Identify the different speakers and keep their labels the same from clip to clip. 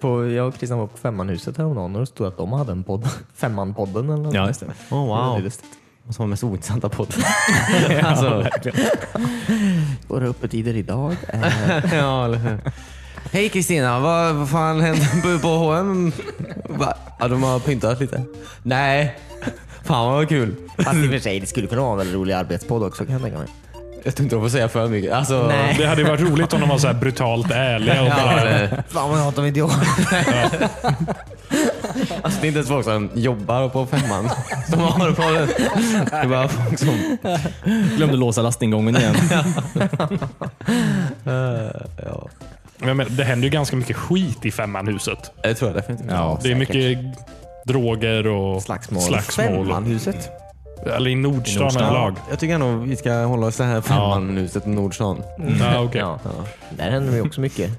Speaker 1: På, jag och Christian var på Femmanhuset häromdagen och det stod att de hade en podd. Femmanpodden eller något.
Speaker 2: Ja, just det. Oh,
Speaker 1: Det är
Speaker 2: wow.
Speaker 1: lustigt.
Speaker 2: Och så var mest ointressanta podden. alltså.
Speaker 1: Våra öppettider idag Eh, är...
Speaker 2: ja, eller hur. Hej Kristina, vad, vad fan hände på- på H&M? Va? Ja, de har pyntat lite. Nej. Fan vad kul.
Speaker 1: Fast i och för sig, det skulle kunna vara en väldigt rolig arbetspodd också kan jag tänka mig.
Speaker 2: Jag tror inte de får säga för mycket. Alltså,
Speaker 1: Nej.
Speaker 3: Det hade ju varit roligt om de var så här brutalt ärliga. Och
Speaker 2: Ja,
Speaker 3: bara,
Speaker 2: eller,
Speaker 1: Fan vad jag hatar mitt jobb.
Speaker 2: alltså, det är inte ens folk som jobbar på femman som har podden. Det är bara folk som...
Speaker 4: Glömde låsa lastingången igen.
Speaker 2: Ja,
Speaker 3: jag menar, det händer ju ganska mycket skit i femmanhuset.
Speaker 2: det tror jag definitivt.
Speaker 4: Ja.
Speaker 3: Det är mycket droger och
Speaker 1: Slagsmål.
Speaker 3: slagsmål.
Speaker 2: Femmanhuset?
Speaker 3: Eller i Nordstan
Speaker 4: I Nordstan.
Speaker 3: överlag.
Speaker 2: Jag tycker ändå vi ska hålla oss så här femmanhuset i Nordstan.
Speaker 3: Mm. Ja, okej.
Speaker 1: Ja. Där händer ju också mycket.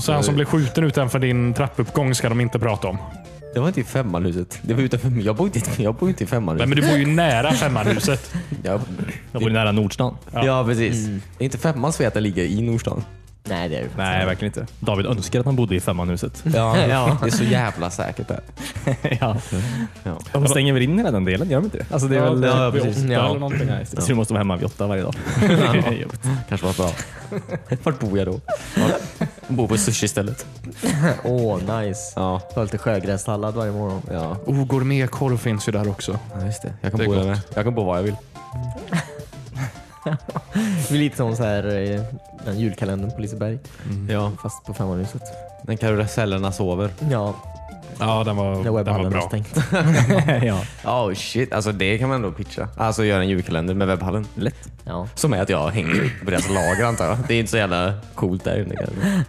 Speaker 3: Så han som blev skjuten utanför din trappuppgång ska de inte prata om.
Speaker 2: Det var inte i femmanhuset. Det var utanför. Jag bor inte, jag bor inte i
Speaker 3: Nej,
Speaker 2: femmanhuset.
Speaker 3: men du bor ju nära femmanhuset.
Speaker 2: Jag,
Speaker 4: Jag bor nära Nordstan.
Speaker 3: Ja.
Speaker 2: ja, precis. Det är inte femmans fel att jag ligger i Nordstan.
Speaker 1: Nej det är det
Speaker 4: Nej, verkligen inte. David önskar att han bodde i femmanhuset.
Speaker 2: Ja, Det är så jävla säkert där.
Speaker 4: ja.
Speaker 2: Ja.
Speaker 4: De stänger väl in hela den delen, gör de inte det? Alltså, det är väl,
Speaker 2: ja,
Speaker 3: vid
Speaker 2: precis.
Speaker 3: åtta
Speaker 2: Ja.
Speaker 3: eller någonting.
Speaker 4: Så du måste vara hemma vid åtta varje dag.
Speaker 2: Kanske var bra. Vart bor jag då? Jag bor på sushi-stället.
Speaker 1: Åh, nice.
Speaker 2: Ja.
Speaker 1: Ta lite sjögrässallad varje morgon.
Speaker 2: Ja.
Speaker 3: Oh, gourmetkorv finns ju där också.
Speaker 2: ja, just det. Jag kan,
Speaker 3: Det är
Speaker 2: bo
Speaker 3: gott.
Speaker 2: där med. jag kan bo var jag vill.
Speaker 1: Det är lite som så här, eh, den julkalendern på Liseberg.
Speaker 3: Mm.
Speaker 2: Ja.
Speaker 1: Fast på Femmanhuset.
Speaker 2: När karusellerna sover.
Speaker 1: Ja,
Speaker 3: Ja, den var,
Speaker 1: när
Speaker 3: den var
Speaker 1: webbhallen har
Speaker 3: bra.
Speaker 1: stängt.
Speaker 4: ja.
Speaker 2: Oh shit, alltså det kan man ändå pitcha. Alltså göra en julkalender med webbhallen. Lätt.
Speaker 1: Ja.
Speaker 2: Som är att jag hänger på deras lager antar jag. Det är inte så jävla coolt där inne kanske.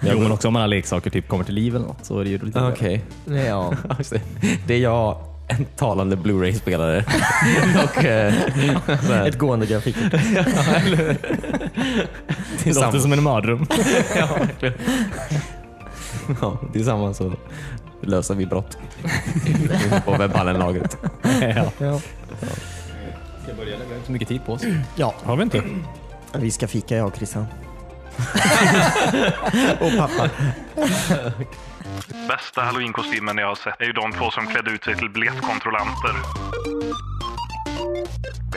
Speaker 4: Jo, men också om alla leksaker typ kommer till liv eller något, så är det ju lite
Speaker 2: Okej.
Speaker 1: Nej, Ja,
Speaker 2: Ja, just det. Det är jag, en talande Blu-ray-spelare. och eh, så här,
Speaker 1: ett gående grafik.
Speaker 4: Det låter
Speaker 2: tillsammans,
Speaker 4: som en mardröm.
Speaker 2: ja, tillsammans så löser vi brott. på webbhallen-lagret.
Speaker 4: ja.
Speaker 1: Ja.
Speaker 4: Ska börja? Vi har inte så mycket tid på oss.
Speaker 1: ja,
Speaker 3: Har vi inte?
Speaker 1: vi ska fika jag och Christian. och pappa.
Speaker 5: Bästa halloweenkostymen jag har sett är ju de två som klädde ut sig till biljettkontrollanter.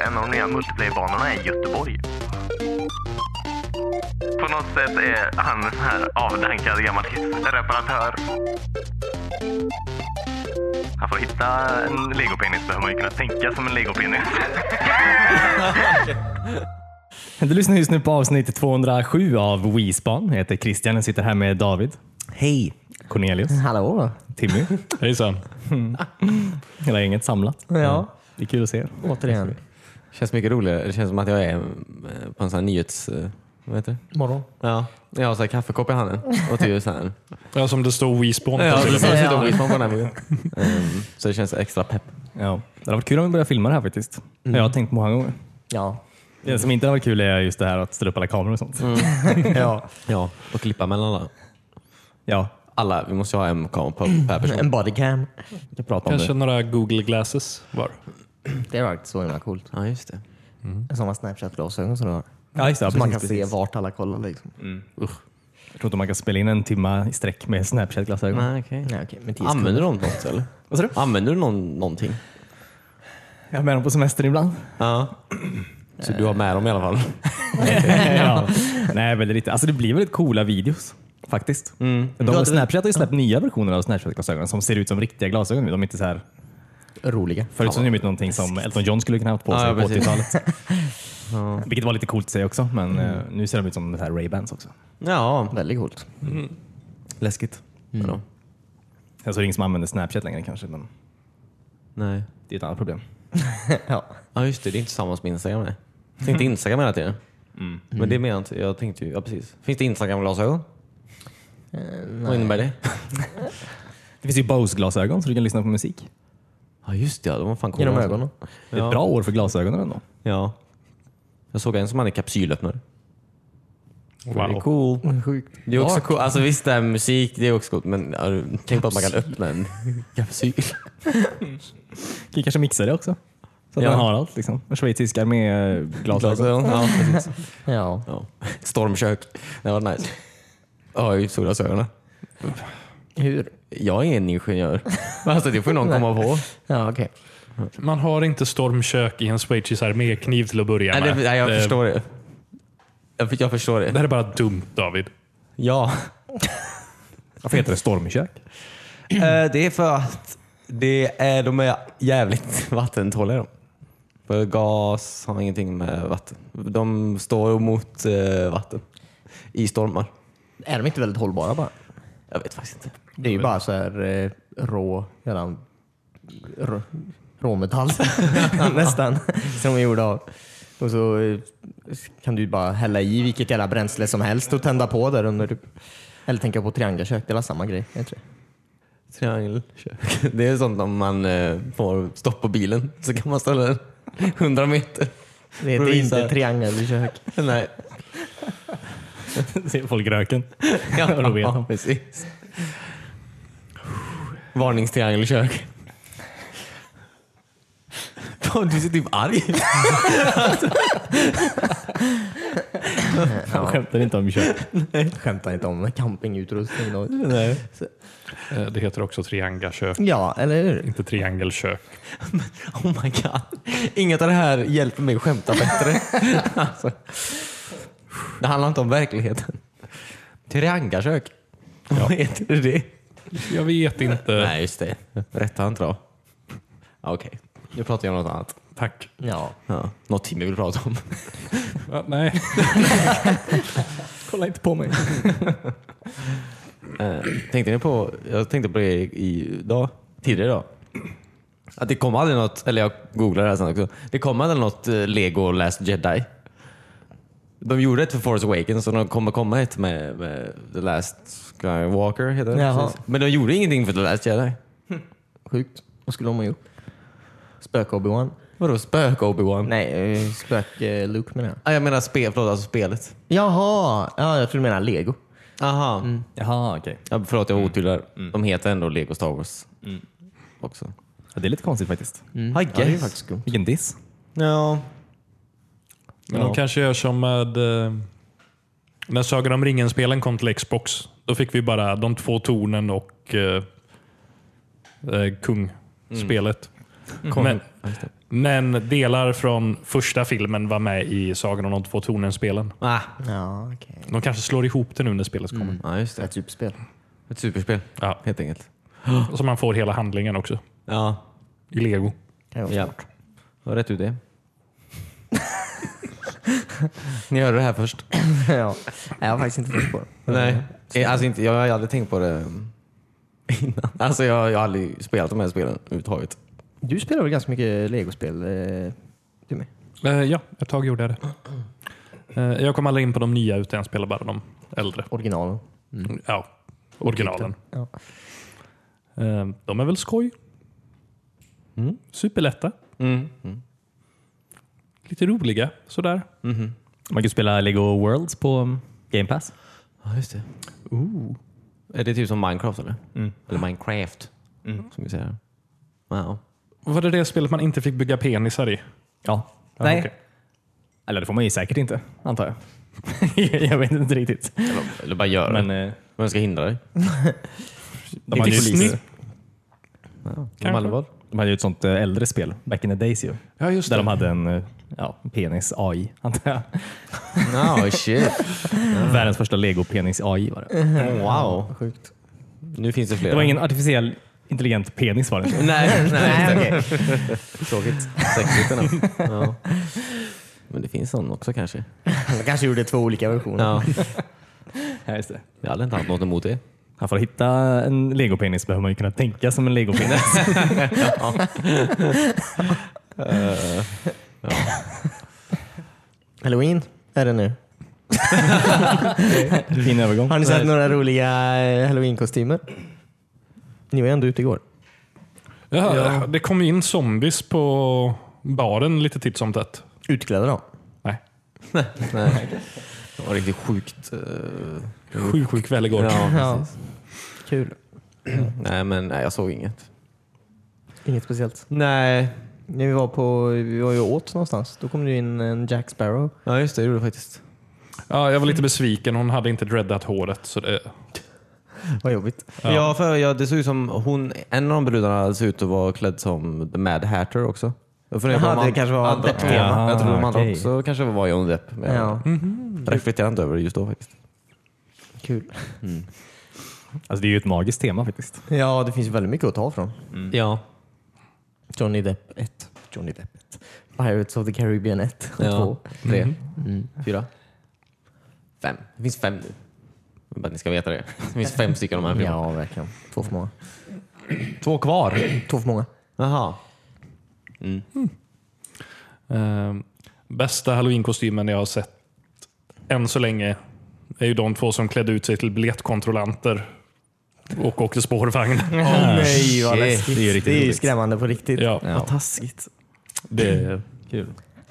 Speaker 5: En av de nya multiplayerbanorna är i Göteborg. På något sätt är han en sån här avdankad gammal hissreparatör. Han får hitta en legopenis behöver man ju kunna tänka som en legopenis.
Speaker 4: Du lyssnar just nu på avsnitt 207 av WeSpan. Jag heter Christian och sitter här med David,
Speaker 1: Hej!
Speaker 4: Cornelius,
Speaker 1: Hallå!
Speaker 4: Timmy.
Speaker 3: Hejsan.
Speaker 4: Hela gänget samlat.
Speaker 1: Ja,
Speaker 4: Det är kul att se er.
Speaker 1: återigen.
Speaker 2: Känns mycket roligare. Det känns som att jag är eh, på en sån här nyhets... eh, Vad heter det?
Speaker 1: Morgon.
Speaker 2: Ja, jag har så här kaffekopp i handen och typ så här.
Speaker 3: Ja, som det står WeSpawn på.
Speaker 2: Ja,
Speaker 3: sidan.
Speaker 2: så
Speaker 1: precis.
Speaker 2: sitter och whisper på den här bilden. Ehm, Så det känns extra pepp.
Speaker 4: Ja. Det hade varit kul om vi började filma det här faktiskt.
Speaker 1: Mm.
Speaker 4: Jag har tänkt många gånger.
Speaker 1: Ja.
Speaker 4: Det som inte har varit kul är just det här att ställa upp alla kameror och sånt.
Speaker 1: Mm. ja.
Speaker 2: Ja, och klippa mellan alla.
Speaker 4: Ja.
Speaker 2: Alla, vi måste ju ha en kamera på per person.
Speaker 1: En bodycam.
Speaker 2: Jag pratar om
Speaker 3: Kanske
Speaker 2: det.
Speaker 3: några Google Glasses var.
Speaker 1: Det var faktiskt så himla coolt.
Speaker 2: Ja, just det.
Speaker 1: Sådana Snapchat-glasögon som du har.
Speaker 4: Ja, just det. Ja,
Speaker 1: Så man kan
Speaker 4: precis, precis.
Speaker 1: se vart alla kollar liksom.
Speaker 4: Jag tror inte man kan spela in en timma i sträck med Snapchat-glasögon.
Speaker 2: Nej, okej.
Speaker 1: Nej, okej, men tio
Speaker 2: Använder du dem något eller?
Speaker 4: Vad sa du?
Speaker 2: Använder du någon, någonting?
Speaker 4: Jag har med dem på semester ibland.
Speaker 2: Ja. Så du har med dem i alla fall?
Speaker 4: ja. Nej, väldigt lite. Alltså det blir väldigt coola videos faktiskt.
Speaker 1: Mm. Du
Speaker 4: De,
Speaker 1: hade-
Speaker 4: Snapchat har ju släppt nya versioner av Snapchat-glasögon som ser ut som riktiga glasögon nu. De är inte så här
Speaker 1: sekunder. Roliga.
Speaker 4: Förut så
Speaker 1: Ja.
Speaker 4: är det någonting som Elton John skulle kunna ha haft på
Speaker 2: Ja,
Speaker 4: sig
Speaker 2: ja,
Speaker 4: på
Speaker 2: precis.
Speaker 4: 80-talet. Vilket var lite coolt att säga också, men
Speaker 1: Mm.
Speaker 4: eh, nu ser de ut som så här Ray-Bans också.
Speaker 2: Ja,
Speaker 1: Väldigt coolt.
Speaker 2: läskigt. Vadå?
Speaker 4: Alltså det är ingen som använder Snapchat längre kanske, men
Speaker 2: Nej.
Speaker 4: det är ett annat problem.
Speaker 1: Ja.
Speaker 2: Ja, just det. Det är inte samma som Instagram. Nej. Jag tänkte Instagram hela tiden. Men det menar jag inte. Jag tänkte ju, ja precis. Finns det Instagram-glasögon?
Speaker 1: Eh,
Speaker 2: Vad innebär det?
Speaker 4: Det finns ju Bose-glasögon så du kan lyssna på musik.
Speaker 2: Ja, just det. Ja, de var fan coola.
Speaker 1: Genom
Speaker 2: alltså.
Speaker 1: ögonen.
Speaker 4: Det är ett bra år för glasögonen ändå.
Speaker 2: Ja. Jag såg en som hade kapsylöppnare. Det är
Speaker 3: Wow.
Speaker 2: cool.
Speaker 1: Sjukt.
Speaker 2: Det är också cool. Alltså visst, det här med musik, det är också coolt. Men ja, du- tänk på att man kan öppna en kapsyl.
Speaker 4: Kan ju kanske mixa det också. Så att
Speaker 2: Ja.
Speaker 4: man har allt liksom. Och Schweiziskar med eh, glasögon.
Speaker 2: Glasögon. Ja, precis.
Speaker 1: Ja.
Speaker 2: Ja. Stormkök. Det var nice. Ja, i solglasögonen.
Speaker 1: Hur?
Speaker 2: Jag är ingen ingenjör. Alltså det får någon komma på.
Speaker 1: Ja, okej.
Speaker 3: Man har inte stormkök i en schweizisk armékniv till att börja
Speaker 2: Nej, det,
Speaker 3: med.
Speaker 2: nej jag
Speaker 3: Eh,
Speaker 2: förstår det. Jag, jag förstår
Speaker 3: Det
Speaker 2: det.
Speaker 3: här är bara dumt David.
Speaker 2: Ja.
Speaker 4: Varför heter det stormkök?
Speaker 2: Eh, Det är för att det är, de är jävligt vattentåliga. De. För gas har ingenting med vatten. De står emot eh, vatten i stormar.
Speaker 1: Är de inte väldigt hållbara bara?
Speaker 2: Jag vet faktiskt inte.
Speaker 1: Det är ju bara så här eh, rå, redan, rå, råmetall nästan, som vi gjorde av. Och så eh, kan du ju bara hälla i vilket jävla bränsle som helst och tända på där under. typ. Eller tänka på triangelkök, det är väl samma grej? är det inte det?
Speaker 2: Triangelkök. Det är sånt om man eh, får stopp på bilen så kan man ställa den 100 meter.
Speaker 1: Det heter
Speaker 2: Får du visa-
Speaker 1: inte triangelkök.
Speaker 2: Nej.
Speaker 4: Ser folk röken?
Speaker 2: Ja,
Speaker 4: Då vet de.
Speaker 2: precis. Varningstriangelkök. Fan, du ser typ arg ut.
Speaker 4: Jag skämtar inte om kök.
Speaker 1: Skämtar inte om campingutrustning. då.
Speaker 3: Eh, Det heter också triangakök,
Speaker 1: Ja, eller hur?
Speaker 3: inte triangelkök.
Speaker 2: Oh my god. Inget av det här hjälper mig att skämta bättre. alltså. Det handlar inte om verkligheten. Triangakök. Vad heter det?
Speaker 3: Jag vet inte.
Speaker 2: Nej, just det. Rätta inte då. Ja, Okej, nu pratar jag om något annat.
Speaker 3: Tack.
Speaker 1: Ja.
Speaker 2: Ja. Något Timmy vill prata om.
Speaker 3: Va, nej.
Speaker 4: Kolla inte på mig.
Speaker 2: Eh, tänkte ni på, jag tänkte på det i- idag, tidigare idag. Att det kom aldrig något, eller jag googlade det här sen också. Det kom aldrig något eh, Lego Last Jedi. De gjorde ett för Force Awakens och de kommer komma ett med, med The Last Skywalker. Heter det,
Speaker 1: Jaha.
Speaker 2: precis. Men de gjorde ingenting för The Last Jedi.
Speaker 1: Sjukt. Vad skulle de ha gjort? Spök-Obi-Wan?
Speaker 2: Vadå spök Obi-Wan?
Speaker 1: Nej, eh, spök-Luke menar jag.
Speaker 2: Ah, jag menar spe, förlåt, alltså spelet.
Speaker 1: Jaha! Ja, jag tror du menar lego.
Speaker 2: Aha.
Speaker 4: Jaha, okej.
Speaker 2: Ja, förlåt, jag var otydlig där. De heter ändå Lego Star Wars. Också.
Speaker 4: Ja, det är lite konstigt faktiskt.
Speaker 2: I
Speaker 1: Ja, det är
Speaker 2: guess.
Speaker 1: faktiskt skumt.
Speaker 4: Vilken diss.
Speaker 2: Ja.
Speaker 3: Men de kanske gör som med... eh, När Sagan om ringen-spelen kom till Xbox, då fick vi bara de två tornen och eh, eh, kung-spelet.
Speaker 2: Mm.
Speaker 3: Men, men delar från första filmen var med i Sagan om de två tornen-spelen.
Speaker 2: Ah.
Speaker 1: Ja, okej.
Speaker 3: De kanske slår ihop det nu när spelet kommer.
Speaker 2: Mm. Ja, just det.
Speaker 1: Ett superspel.
Speaker 2: Ett superspel,
Speaker 3: Ja.
Speaker 2: helt enkelt.
Speaker 3: Så man får hela handlingen också
Speaker 2: Ja.
Speaker 3: i lego.
Speaker 1: Kan jag
Speaker 2: Ja. Vad rätt ut det. Ni hörde det här först?
Speaker 1: ja. Nej, jag har faktiskt inte tänkt på det.
Speaker 2: Nej. Eh, Alltså inte, jag har aldrig tänkt på det innan. Alltså jag, jag har aldrig spelat de här spelen överhuvudtaget.
Speaker 1: Du spelar väl ganska mycket legospel? Eh, du med?
Speaker 3: Eh, ja, ett tag gjorde jag det. Eh, jag kom aldrig in på de nya utan jag spelade bara de äldre.
Speaker 1: Originalen?
Speaker 3: Ja, originalen.
Speaker 1: Ja.
Speaker 3: Eh, de är väl skoj? Mm. Superlätta.
Speaker 2: Mm.
Speaker 3: Lite roliga, sådär.
Speaker 4: Man kan spela Lego Worlds på um, Game Pass.
Speaker 2: Ja, just det. Är det typ som Minecraft eller? Eller Minecraft, som vi säger. här. Wow.
Speaker 3: Var det det spelet man inte fick bygga penisar i?
Speaker 4: Ja.
Speaker 3: Ja,
Speaker 4: Nej.
Speaker 3: okej.
Speaker 4: Eller det får man ju säkert inte, antar jag. jag vet inte riktigt.
Speaker 2: Eller, eller bara gör
Speaker 4: Men
Speaker 2: det.
Speaker 4: eh,
Speaker 2: Vem ska hindra dig?
Speaker 4: de, hade ju,
Speaker 3: snyggt.
Speaker 2: De hade vad?
Speaker 4: de hade ju ett sånt eh, äldre spel, Back in the Days ju.
Speaker 3: Ja, just
Speaker 4: Där
Speaker 3: det.
Speaker 4: de hade en eh, ja, penis AI, antar jag.
Speaker 2: No, shit.
Speaker 4: Världens första Lego-penis AI var det.
Speaker 2: Wow.
Speaker 1: Sjukt.
Speaker 2: Nu finns det flera.
Speaker 4: Det var ingen artificiell intelligent penis var det inte.
Speaker 2: Nej, nej.
Speaker 1: Nej, okej.
Speaker 2: Tråkigt. Sexigt ändå. Ja. Men det finns sån också kanske.
Speaker 1: Han kanske gjorde två olika versioner.
Speaker 2: Ja.
Speaker 4: Ja, just det.
Speaker 2: Jag hade inte haft något emot det.
Speaker 4: Ja, för att hitta en legopenis behöver man ju kunna tänka som en legopenis.
Speaker 1: Halloween är det nu.
Speaker 4: fin övergång.
Speaker 1: Har ni sett några roliga eh, halloween-kostymer? Ni var ju ändå ute igår.
Speaker 3: Ja, Det kom in zombies på baren lite titt som tätt.
Speaker 1: Utklädda då?
Speaker 3: Nej.
Speaker 2: Det var riktigt sjukt. eh,
Speaker 3: Sjuk, sjuk kväll igår.
Speaker 2: Ja,
Speaker 1: Ja.
Speaker 2: precis.
Speaker 1: Kul.
Speaker 2: Nej, men nej, jag såg inget.
Speaker 1: Inget speciellt.
Speaker 2: Nej.
Speaker 1: När vi var på, vi var ju åt någonstans. Då kom det in en Jack Sparrow.
Speaker 2: Ja, just det. Det gjorde du faktiskt.
Speaker 3: Ja, jag var lite besviken. Hon hade inte dreadat håret. Så det...
Speaker 1: Vad jobbigt.
Speaker 2: Ja. för jag, det såg ut som hon, en av de brudarna såg ut att vara klädd som The Mad Hatter också. Jag funderar på
Speaker 1: Jaha,
Speaker 2: om
Speaker 1: det
Speaker 2: han-
Speaker 1: kanske var
Speaker 2: han-
Speaker 1: Depp-tema.
Speaker 2: Ja, Jag tror de andra
Speaker 4: Okej.
Speaker 2: också kanske var Johnny Depp. Men
Speaker 1: Ja.
Speaker 2: Jag reflekterar inte över det just då faktiskt.
Speaker 1: Kul.
Speaker 4: Alltså, det är ju ett magiskt tema faktiskt.
Speaker 1: Ja, det finns ju väldigt mycket att ta från.
Speaker 2: Ja.
Speaker 1: Johnny Depp 1. Johnny Depp 1. Pirates of the Caribbean 1 och
Speaker 2: Ja.
Speaker 1: 2.
Speaker 2: Tre. Fyra. Fem. Det finns fem nu. Jag vill Bara att ni ska veta det. Det finns fem stycken av de här filmerna.
Speaker 1: Ja, verkligen. Två för många.
Speaker 2: Två kvar.
Speaker 1: Två för många.
Speaker 2: Jaha.
Speaker 3: Eh, bästa halloween-kostymen jag har sett än så länge är ju de två som klädde ut sig till biljettkontrollanter och åkte spårvagn.
Speaker 1: nej,
Speaker 2: shit.
Speaker 1: läskigt.
Speaker 4: Ah, Det är ju riktigt roligt.
Speaker 1: skrämmande på riktigt.
Speaker 3: ja,
Speaker 1: Vad taskigt.
Speaker 3: det,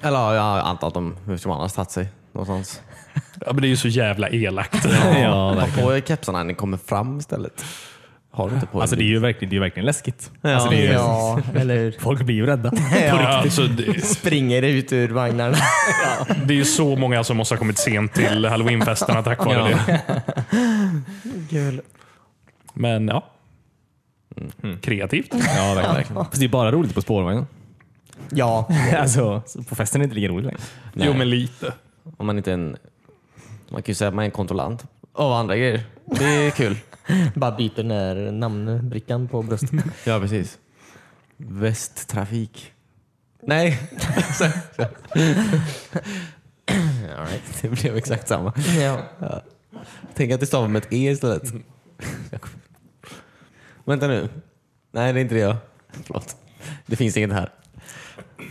Speaker 2: Eller ja, jag antar att de, hur ska man annars tagit sig någonstans?
Speaker 3: ja, men det är ju så jävla elakt.
Speaker 4: Ja,
Speaker 2: Ta på er kepsarna när ni kommer fram istället. Har du inte på er
Speaker 4: Alltså det är
Speaker 2: nu?
Speaker 4: ju verkligen, det är ju verkligen läskigt.
Speaker 2: Ja.
Speaker 4: Alltså, det är ju,
Speaker 1: Ja, eller hur?
Speaker 4: Folk blir ju rädda.
Speaker 3: ja, alltså, det,
Speaker 1: Springer ut ur vagnarna.
Speaker 3: det är ju så många som måste ha kommit sent till halloweenfesterna tack vare
Speaker 2: Ja.
Speaker 3: det. Men ja, kreativt.
Speaker 4: Ja, verkligen. Fast det är bara roligt på spårvagnen.
Speaker 1: Ja,
Speaker 4: Alltså, så på festen är det inte lika roligt längre.
Speaker 2: Nej.
Speaker 3: Jo, men lite.
Speaker 2: Om man inte är en... Man kan ju säga att man är en kontrollant av andra grejer. Det är kul.
Speaker 1: bara byter den här namnbrickan på bröstet.
Speaker 2: ja, precis. Västtrafik. Nej. All right. Det blev exakt samma.
Speaker 1: ja.
Speaker 2: Tänk att det stavar med ett E istället. Vänta nu. Nej, det är inte det jag. Förlåt. Det finns inget här.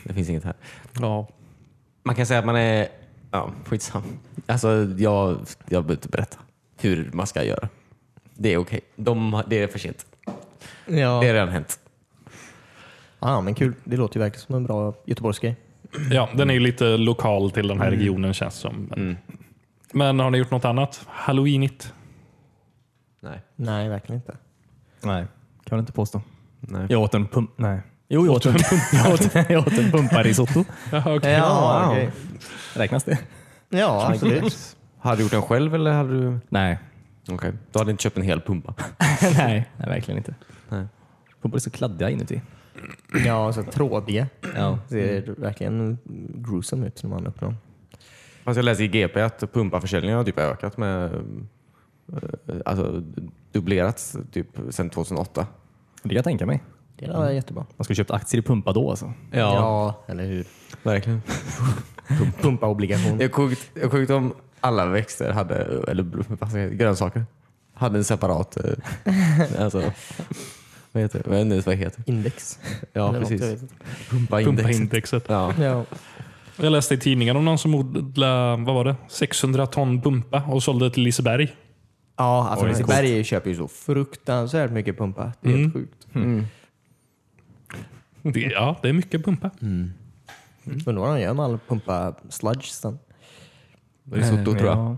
Speaker 2: Det finns inget här.
Speaker 3: Ja.
Speaker 2: Man kan säga att man är... Ja, skitsam. Alltså, jag, jag behöver inte berätta hur man ska göra. Det är okej. De, har- det är för sent. Det har
Speaker 1: Ja.
Speaker 2: redan hänt.
Speaker 1: Ah, men kul. Det låter ju verkligen som en bra Göteborgsgrej.
Speaker 3: ja, den är ju lite lokal till den här
Speaker 2: Mm.
Speaker 3: regionen känns som. Men har ni gjort något annat? Halloweenigt?
Speaker 2: Nej.
Speaker 1: Nej, verkligen inte.
Speaker 4: Nej, kan du inte påstå.
Speaker 2: Nej.
Speaker 4: Jag åt en pump... Nej. Jo, jag åt en, jag åt, jag åt en pumparisotto.
Speaker 3: Jaha, okej.
Speaker 1: Ja, okej.
Speaker 4: Räknas det?
Speaker 1: ja absolut.
Speaker 2: Hade du gjort den själv eller hade du...
Speaker 4: Nej.
Speaker 2: Okej. Du hade inte köpt en hel pumpa?
Speaker 4: Nej. Nej, verkligen inte.
Speaker 2: Nej.
Speaker 4: Pumpar är så kladdiga inuti.
Speaker 1: Ja, så trådiga.
Speaker 2: Mm.
Speaker 4: Ja.
Speaker 1: Ser verkligen gruesome ut när man öppnar dem.
Speaker 2: Fast jag läste i GP att pumpaförsäljningen har typ ökat med... eh, Alltså dubblerats typ sedan 2008.
Speaker 4: Det kan jag tänka mig.
Speaker 1: Det där var
Speaker 2: Mm.
Speaker 1: jättebra.
Speaker 4: Man skulle köpt aktier i Pumpa då alltså.
Speaker 1: Ja. eller hur?
Speaker 2: verkligen.
Speaker 1: Pump, pumpa obligation.
Speaker 2: Det är sjukt, det är sjukt om alla växter hade, eller vad säger jag, grönsaker, hade en separat... eh, alltså, vad heter det? Jag vet inte ens vad det heter.
Speaker 1: Index.
Speaker 2: Ja,
Speaker 1: Eller något,
Speaker 2: precis.
Speaker 1: jag vet inte.
Speaker 3: Pumpa
Speaker 2: Pumpaindex.
Speaker 3: indexet.
Speaker 2: Ja.
Speaker 1: Ja.
Speaker 3: Jag läste i tidningen om någon som odlade, vad var det? 600 ton pumpa och sålde till Liseberg.
Speaker 1: ja, alltså
Speaker 4: Oj,
Speaker 1: Liseberg köper ju så fruktansvärt mycket pumpa. Det är
Speaker 2: Mm.
Speaker 1: helt sjukt.
Speaker 3: Det, ja, det är mycket pumpa.
Speaker 2: Mm.
Speaker 1: Undrar vad de gör med all pumpa sludge sen.
Speaker 2: Risotto Eh, tror jag.
Speaker 4: Ja.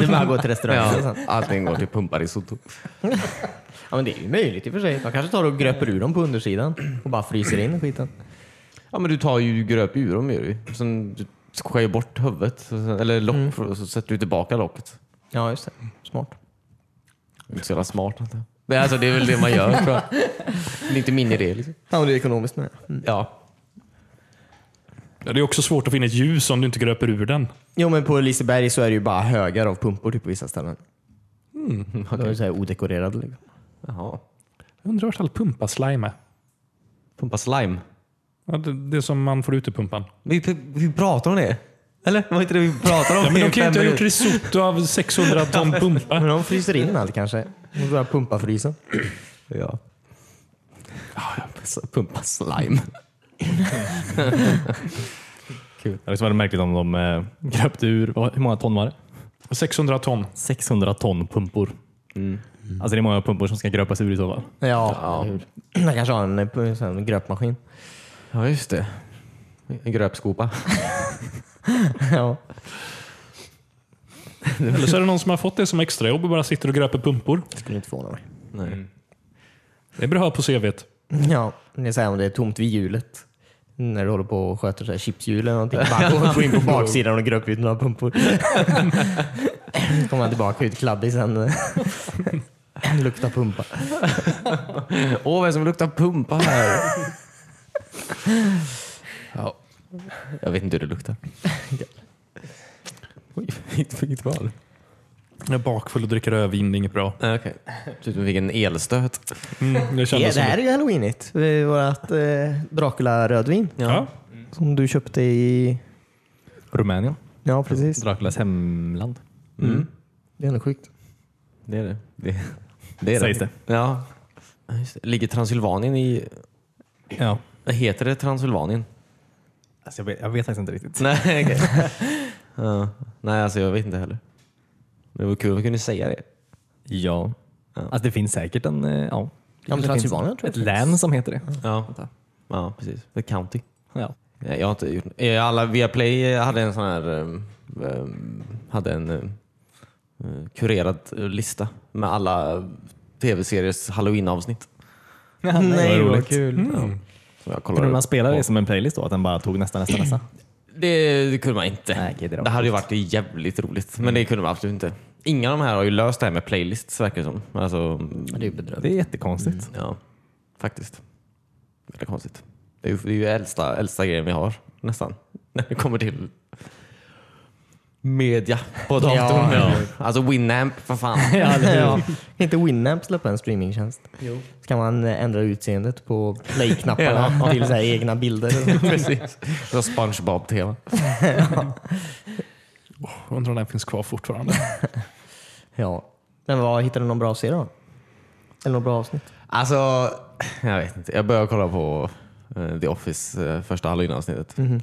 Speaker 1: Det bara går till restaurangen
Speaker 2: Ja.
Speaker 1: sen.
Speaker 2: Allting går till pumparisotto.
Speaker 1: Ja, men det är ju möjligt i och för sig. De kanske tar och gröper ur dem på undersidan och bara fryser in skiten.
Speaker 2: Ja men du tar ju gröp ur dem gör du ju. Sen du skär ju bort huvudet, så sen- eller lock, och så sätter du tillbaka locket.
Speaker 1: Ja, just det. Smart.
Speaker 2: Det är Inte så jävla smart antar jag. Men alltså det är väl det man gör tror jag. Det är inte min idé liksom.
Speaker 1: Ja, men det är ekonomiskt med. Mm.
Speaker 2: Ja.
Speaker 3: Ja, Det är också svårt att finna ett ljus om du inte gröper ur den.
Speaker 1: Jo, men på Liseberg så är det ju bara högar av pumpor typ, på vissa ställen.
Speaker 2: Mm,
Speaker 1: De är ju så här odekorerade. Liksom.
Speaker 2: Jaha.
Speaker 3: Jag undrar vart all pumpaslime är.
Speaker 2: Pumpa slime.
Speaker 3: Ja, det, det som man får ut ur pumpan.
Speaker 2: Vi, vi pratar om det. Eller? Var inte det vi pratade om
Speaker 3: Ja, men
Speaker 2: i
Speaker 3: de kan ju
Speaker 2: fem
Speaker 3: inte ha gjort
Speaker 2: minuter?
Speaker 3: risotto av 600 ton
Speaker 1: Men
Speaker 3: pumpa.
Speaker 1: de fryser in allt kanske. De börjar pumpa frysen.
Speaker 2: Ja. Pumpa slime.
Speaker 4: Det skulle vara märkligt om de eh, gröpte ur, vad- hur många ton var det?
Speaker 3: 600 ton.
Speaker 4: 600 ton pumpor. Alltså det är många pumpor som ska gröpas ur i så fall.
Speaker 1: Ja, man kanske har en, eh, sån här gröpmaskin.
Speaker 2: Ja just det. En gröpskopa.
Speaker 1: Ja.
Speaker 3: Eller så är det någon som har fått det som extrajobb och bara sitter och gröper pumpor.
Speaker 1: Skulle inte förvåna mig.
Speaker 2: Nej.
Speaker 3: Det är bra på CVt.
Speaker 1: Ja, det är så här om det är tomt vid hjulet. När du håller på och sköter så här chipshjul eller någonting. Bara gå- gå in på baksidan och gröpa ut några pumpor. Kommer han tillbaka ut kladdig sen. Lukta pumpa.
Speaker 2: Åh, vad är det som luktar pumpa här? ja. Jag vet inte hur det luktar. Oj, inte inget val.
Speaker 3: Jag är bakfull och dricker rödvin, det är inget bra.
Speaker 2: Okej. Typ vi fick en elstöt.
Speaker 3: Mm, det
Speaker 1: Ja,
Speaker 3: kändes
Speaker 1: det
Speaker 3: som
Speaker 1: här är ju halloweenigt. Det är Vårat eh, Dracula-rödvin
Speaker 3: Ja.
Speaker 1: som du köpte i...
Speaker 4: Rumänien.
Speaker 1: Ja, precis.
Speaker 4: Draculas hemland.
Speaker 1: Det är ändå sjukt.
Speaker 2: Det är det. Det, det är
Speaker 4: Sägs det.
Speaker 2: Ja. Ja, Just det. Ligger Transylvanien i...
Speaker 4: Ja.
Speaker 2: Heter det Transylvanien?
Speaker 4: Alltså jag, vet, jag vet faktiskt inte riktigt.
Speaker 2: Nej, okej. ja. Nej, alltså jag vet inte heller. Men det var kul om vi kunde säga det.
Speaker 4: Ja. Alltså det finns säkert en... eh, Ja.
Speaker 1: Ja, men
Speaker 4: Det finns
Speaker 1: Transylvanien tror jag.
Speaker 4: Ett län som heter det.
Speaker 2: Ja, ja precis. The County.
Speaker 4: Ja.
Speaker 2: Nej, Jag har inte gjort eh, Alla Viaplay hade en sån här... ehm, ehm, Hade en ehm, eh, kurerad eh, lista med alla tv-seriers halloween-avsnitt.
Speaker 1: Nej, vad Mm. kul.
Speaker 2: Som jag
Speaker 4: Kunde
Speaker 2: kollade
Speaker 4: man spela
Speaker 2: på.
Speaker 4: det som en playlist då? Att den bara tog nästa, nästa, nästa?
Speaker 2: Det, det kunde man inte.
Speaker 4: Nej, okej, det var
Speaker 2: det,
Speaker 4: Mm.
Speaker 2: hade ju varit jävligt roligt, men det kunde man absolut inte. Inga av de här har ju löst det här med playlists verkar det som. Alltså,
Speaker 1: Det är ju bedrövligt.
Speaker 4: Det är jättekonstigt.
Speaker 2: ja, faktiskt. Väldigt konstigt. Det är ju, det är ju äldsta, äldsta grejen vi har nästan, när det kommer till media på datorn.
Speaker 1: Ja, ja.
Speaker 2: Alltså Winamp, för fan.
Speaker 1: ja. Kan inte Winamp släppa en streamingtjänst? Jo. Så kan man eh, ändra utseendet på play-knapparna till så här egna bilder.
Speaker 2: Precis. Det var Spongebob-tema.
Speaker 3: Undrar om den finns kvar fortfarande.
Speaker 1: Ja. Men vad, hittade du någon bra serie då? Eller något bra avsnitt?
Speaker 2: Alltså, jag vet inte. Jag började kolla på eh, The Office, eh, första halloween-avsnittet.
Speaker 1: Mhm.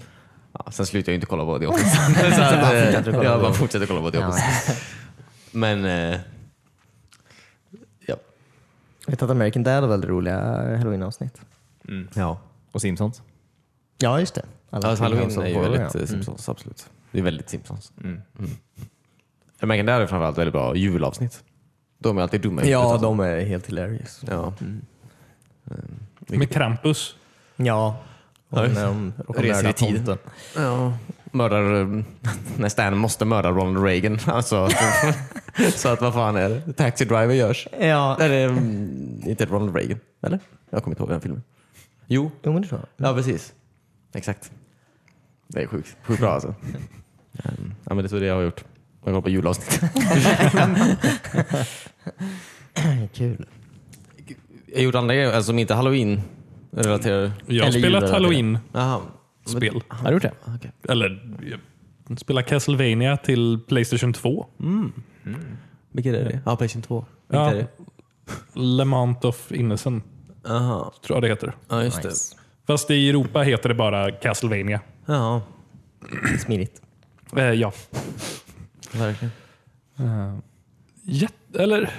Speaker 2: Ja, sen slutade jag inte kolla på The Office. så att, eh, jag bara fortsätter kolla på The
Speaker 1: Ja.
Speaker 2: Office. Men, eh, ja.
Speaker 1: Jag vet att American Dad har väldigt roliga halloween-avsnitt.
Speaker 4: Mm.
Speaker 2: ja.
Speaker 4: Och Simpsons.
Speaker 1: Ja, just det. Alla
Speaker 2: Alltså, halloween
Speaker 1: Simpsons
Speaker 2: är ju
Speaker 1: båda,
Speaker 2: väldigt eh,
Speaker 1: ja. Mm.
Speaker 2: Simpsons, absolut. Det är väldigt Simpsons. Mm. American Dad är framförallt väldigt bra julavsnitt. De är alltid dumma i
Speaker 1: Ja,
Speaker 2: huvudet.
Speaker 1: de är helt hilarious.
Speaker 2: ja.
Speaker 3: Med Krampus.
Speaker 1: Ja. Och
Speaker 2: Ja,
Speaker 1: när de råkar
Speaker 2: Reser i
Speaker 1: mörda
Speaker 2: tiden.
Speaker 1: tomten.
Speaker 2: Ja. Mördar, eh, när Stan måste mörda Ronald Reagan. Alltså, så att vad fan är det? Taxi Driver görs.
Speaker 1: Ja.
Speaker 2: Eller, mm, inte Ronald Reagan, eller? Jag kommer inte ihåg den filmen. Jo,
Speaker 1: Jo, men det tror jag.
Speaker 2: ja precis. Exakt. Det är sjukt, sjukt bra alltså. Ehm, Ja, men det är så det jag har gjort. Jag kollar på julavsnitt.
Speaker 1: Kul.
Speaker 2: Jag har gjort andra grejer alltså, som inte är halloween-relaterade.
Speaker 3: Jag har
Speaker 1: Eller
Speaker 3: spelat
Speaker 1: julrelaterat.
Speaker 3: halloween-spel.
Speaker 2: Jaha. Men-
Speaker 4: Har du gjort det?
Speaker 2: okej.
Speaker 3: Eller jag spelar Castlevania till Playstation 2.
Speaker 2: Vilket är det? Ja, Playstation 2. Vilket
Speaker 3: Ja.
Speaker 2: är det?
Speaker 3: Lamont of Innocent,
Speaker 2: Jaha.
Speaker 3: tror jag det heter.
Speaker 2: Ja, just
Speaker 1: Nice.
Speaker 3: Fast i Europa heter det bara Castlevania.
Speaker 2: det. Jaha,
Speaker 1: Smidigt.
Speaker 3: Eh, ja.
Speaker 2: verkligen.
Speaker 3: Jätte, eller...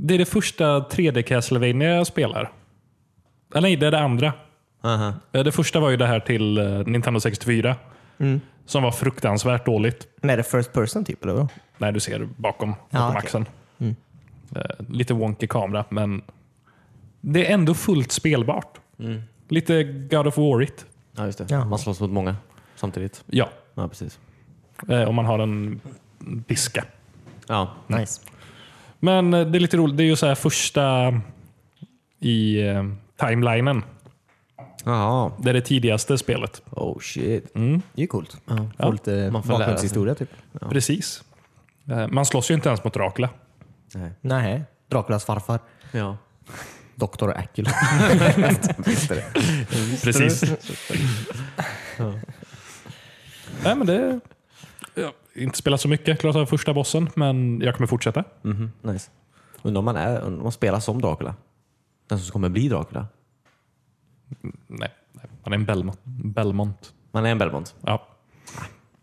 Speaker 3: Det är det första 3D Castlevania jag spelar. Eller nej, det är det andra.
Speaker 2: Aha.
Speaker 3: Eh, Det första var ju det här till eh, Nintendo 64.
Speaker 1: Mm.
Speaker 3: Som var fruktansvärt dåligt.
Speaker 1: Men är det first person typ, eller vadå?
Speaker 3: när du ser bakom, bakom
Speaker 1: Ja, okej. Mm.
Speaker 3: axeln. Eh, lite wonky kamera, men det är ändå fullt spelbart.
Speaker 1: Mm.
Speaker 3: Lite God of war it.
Speaker 2: Ja, just det.
Speaker 1: Ja.
Speaker 2: Man slåss mot många samtidigt.
Speaker 3: Ja,
Speaker 2: Ja, precis.
Speaker 3: eh, om man har en piska.
Speaker 2: Ja,
Speaker 1: Nice.
Speaker 3: Men eh, det är lite roligt. Det är ju så här första i eh, timelinen.
Speaker 2: Jaha.
Speaker 3: Det är det tidigaste spelet.
Speaker 2: Oh shit.
Speaker 1: Det är ju Mm. coolt.
Speaker 3: Ja,
Speaker 1: Få lite
Speaker 2: man får lära sig.
Speaker 1: bakgrundshistoria typ.
Speaker 3: Precis. Eh, man slåss ju inte ens mot Dracula.
Speaker 2: Nej.
Speaker 1: Nej. Draculas farfar.
Speaker 2: Ja.
Speaker 1: Doktor Acul.
Speaker 3: Precis. Nej, men det... Jag har inte spelat så mycket, klart av första bossen, men jag kommer fortsätta.
Speaker 2: Mhm, Nice. Undrar om man, är, undrar om man spelar som Dracula? Den som kommer bli Dracula?
Speaker 3: Nej, nej, han är en Belmont. Belmont.
Speaker 2: Man är en Belmont.
Speaker 3: Ja.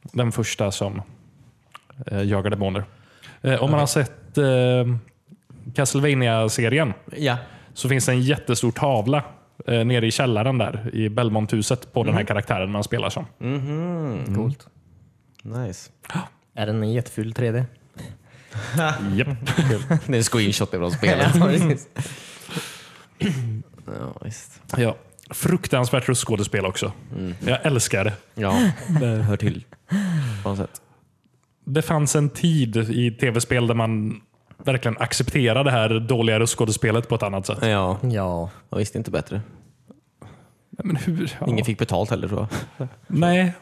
Speaker 3: Den första som eh, jagar demoner. Eh, om man har sett eh, Castlevania-serien
Speaker 2: Ja.
Speaker 3: så finns det en jättestor tavla eh, nere i källaren där i Belmonthuset på den här karaktären man spelar som.
Speaker 1: Coolt.
Speaker 2: Nice.
Speaker 1: Är den en jätteful 3D?
Speaker 3: Japp.
Speaker 2: Det är en screenshot från spelet. ja, visst.
Speaker 3: Ja. Fruktansvärt röstskådespel också. Jag älskar det.
Speaker 2: Ja, det hör till. På något sätt.
Speaker 3: det fanns en tid i tv-spel där man verkligen accepterade det här dåliga röstskådespelet på ett annat sätt.
Speaker 2: Ja,
Speaker 1: Ja.
Speaker 2: jag visste inte bättre.
Speaker 3: Men hur? Ja.
Speaker 2: Ingen fick betalt heller tror jag.
Speaker 3: Nej,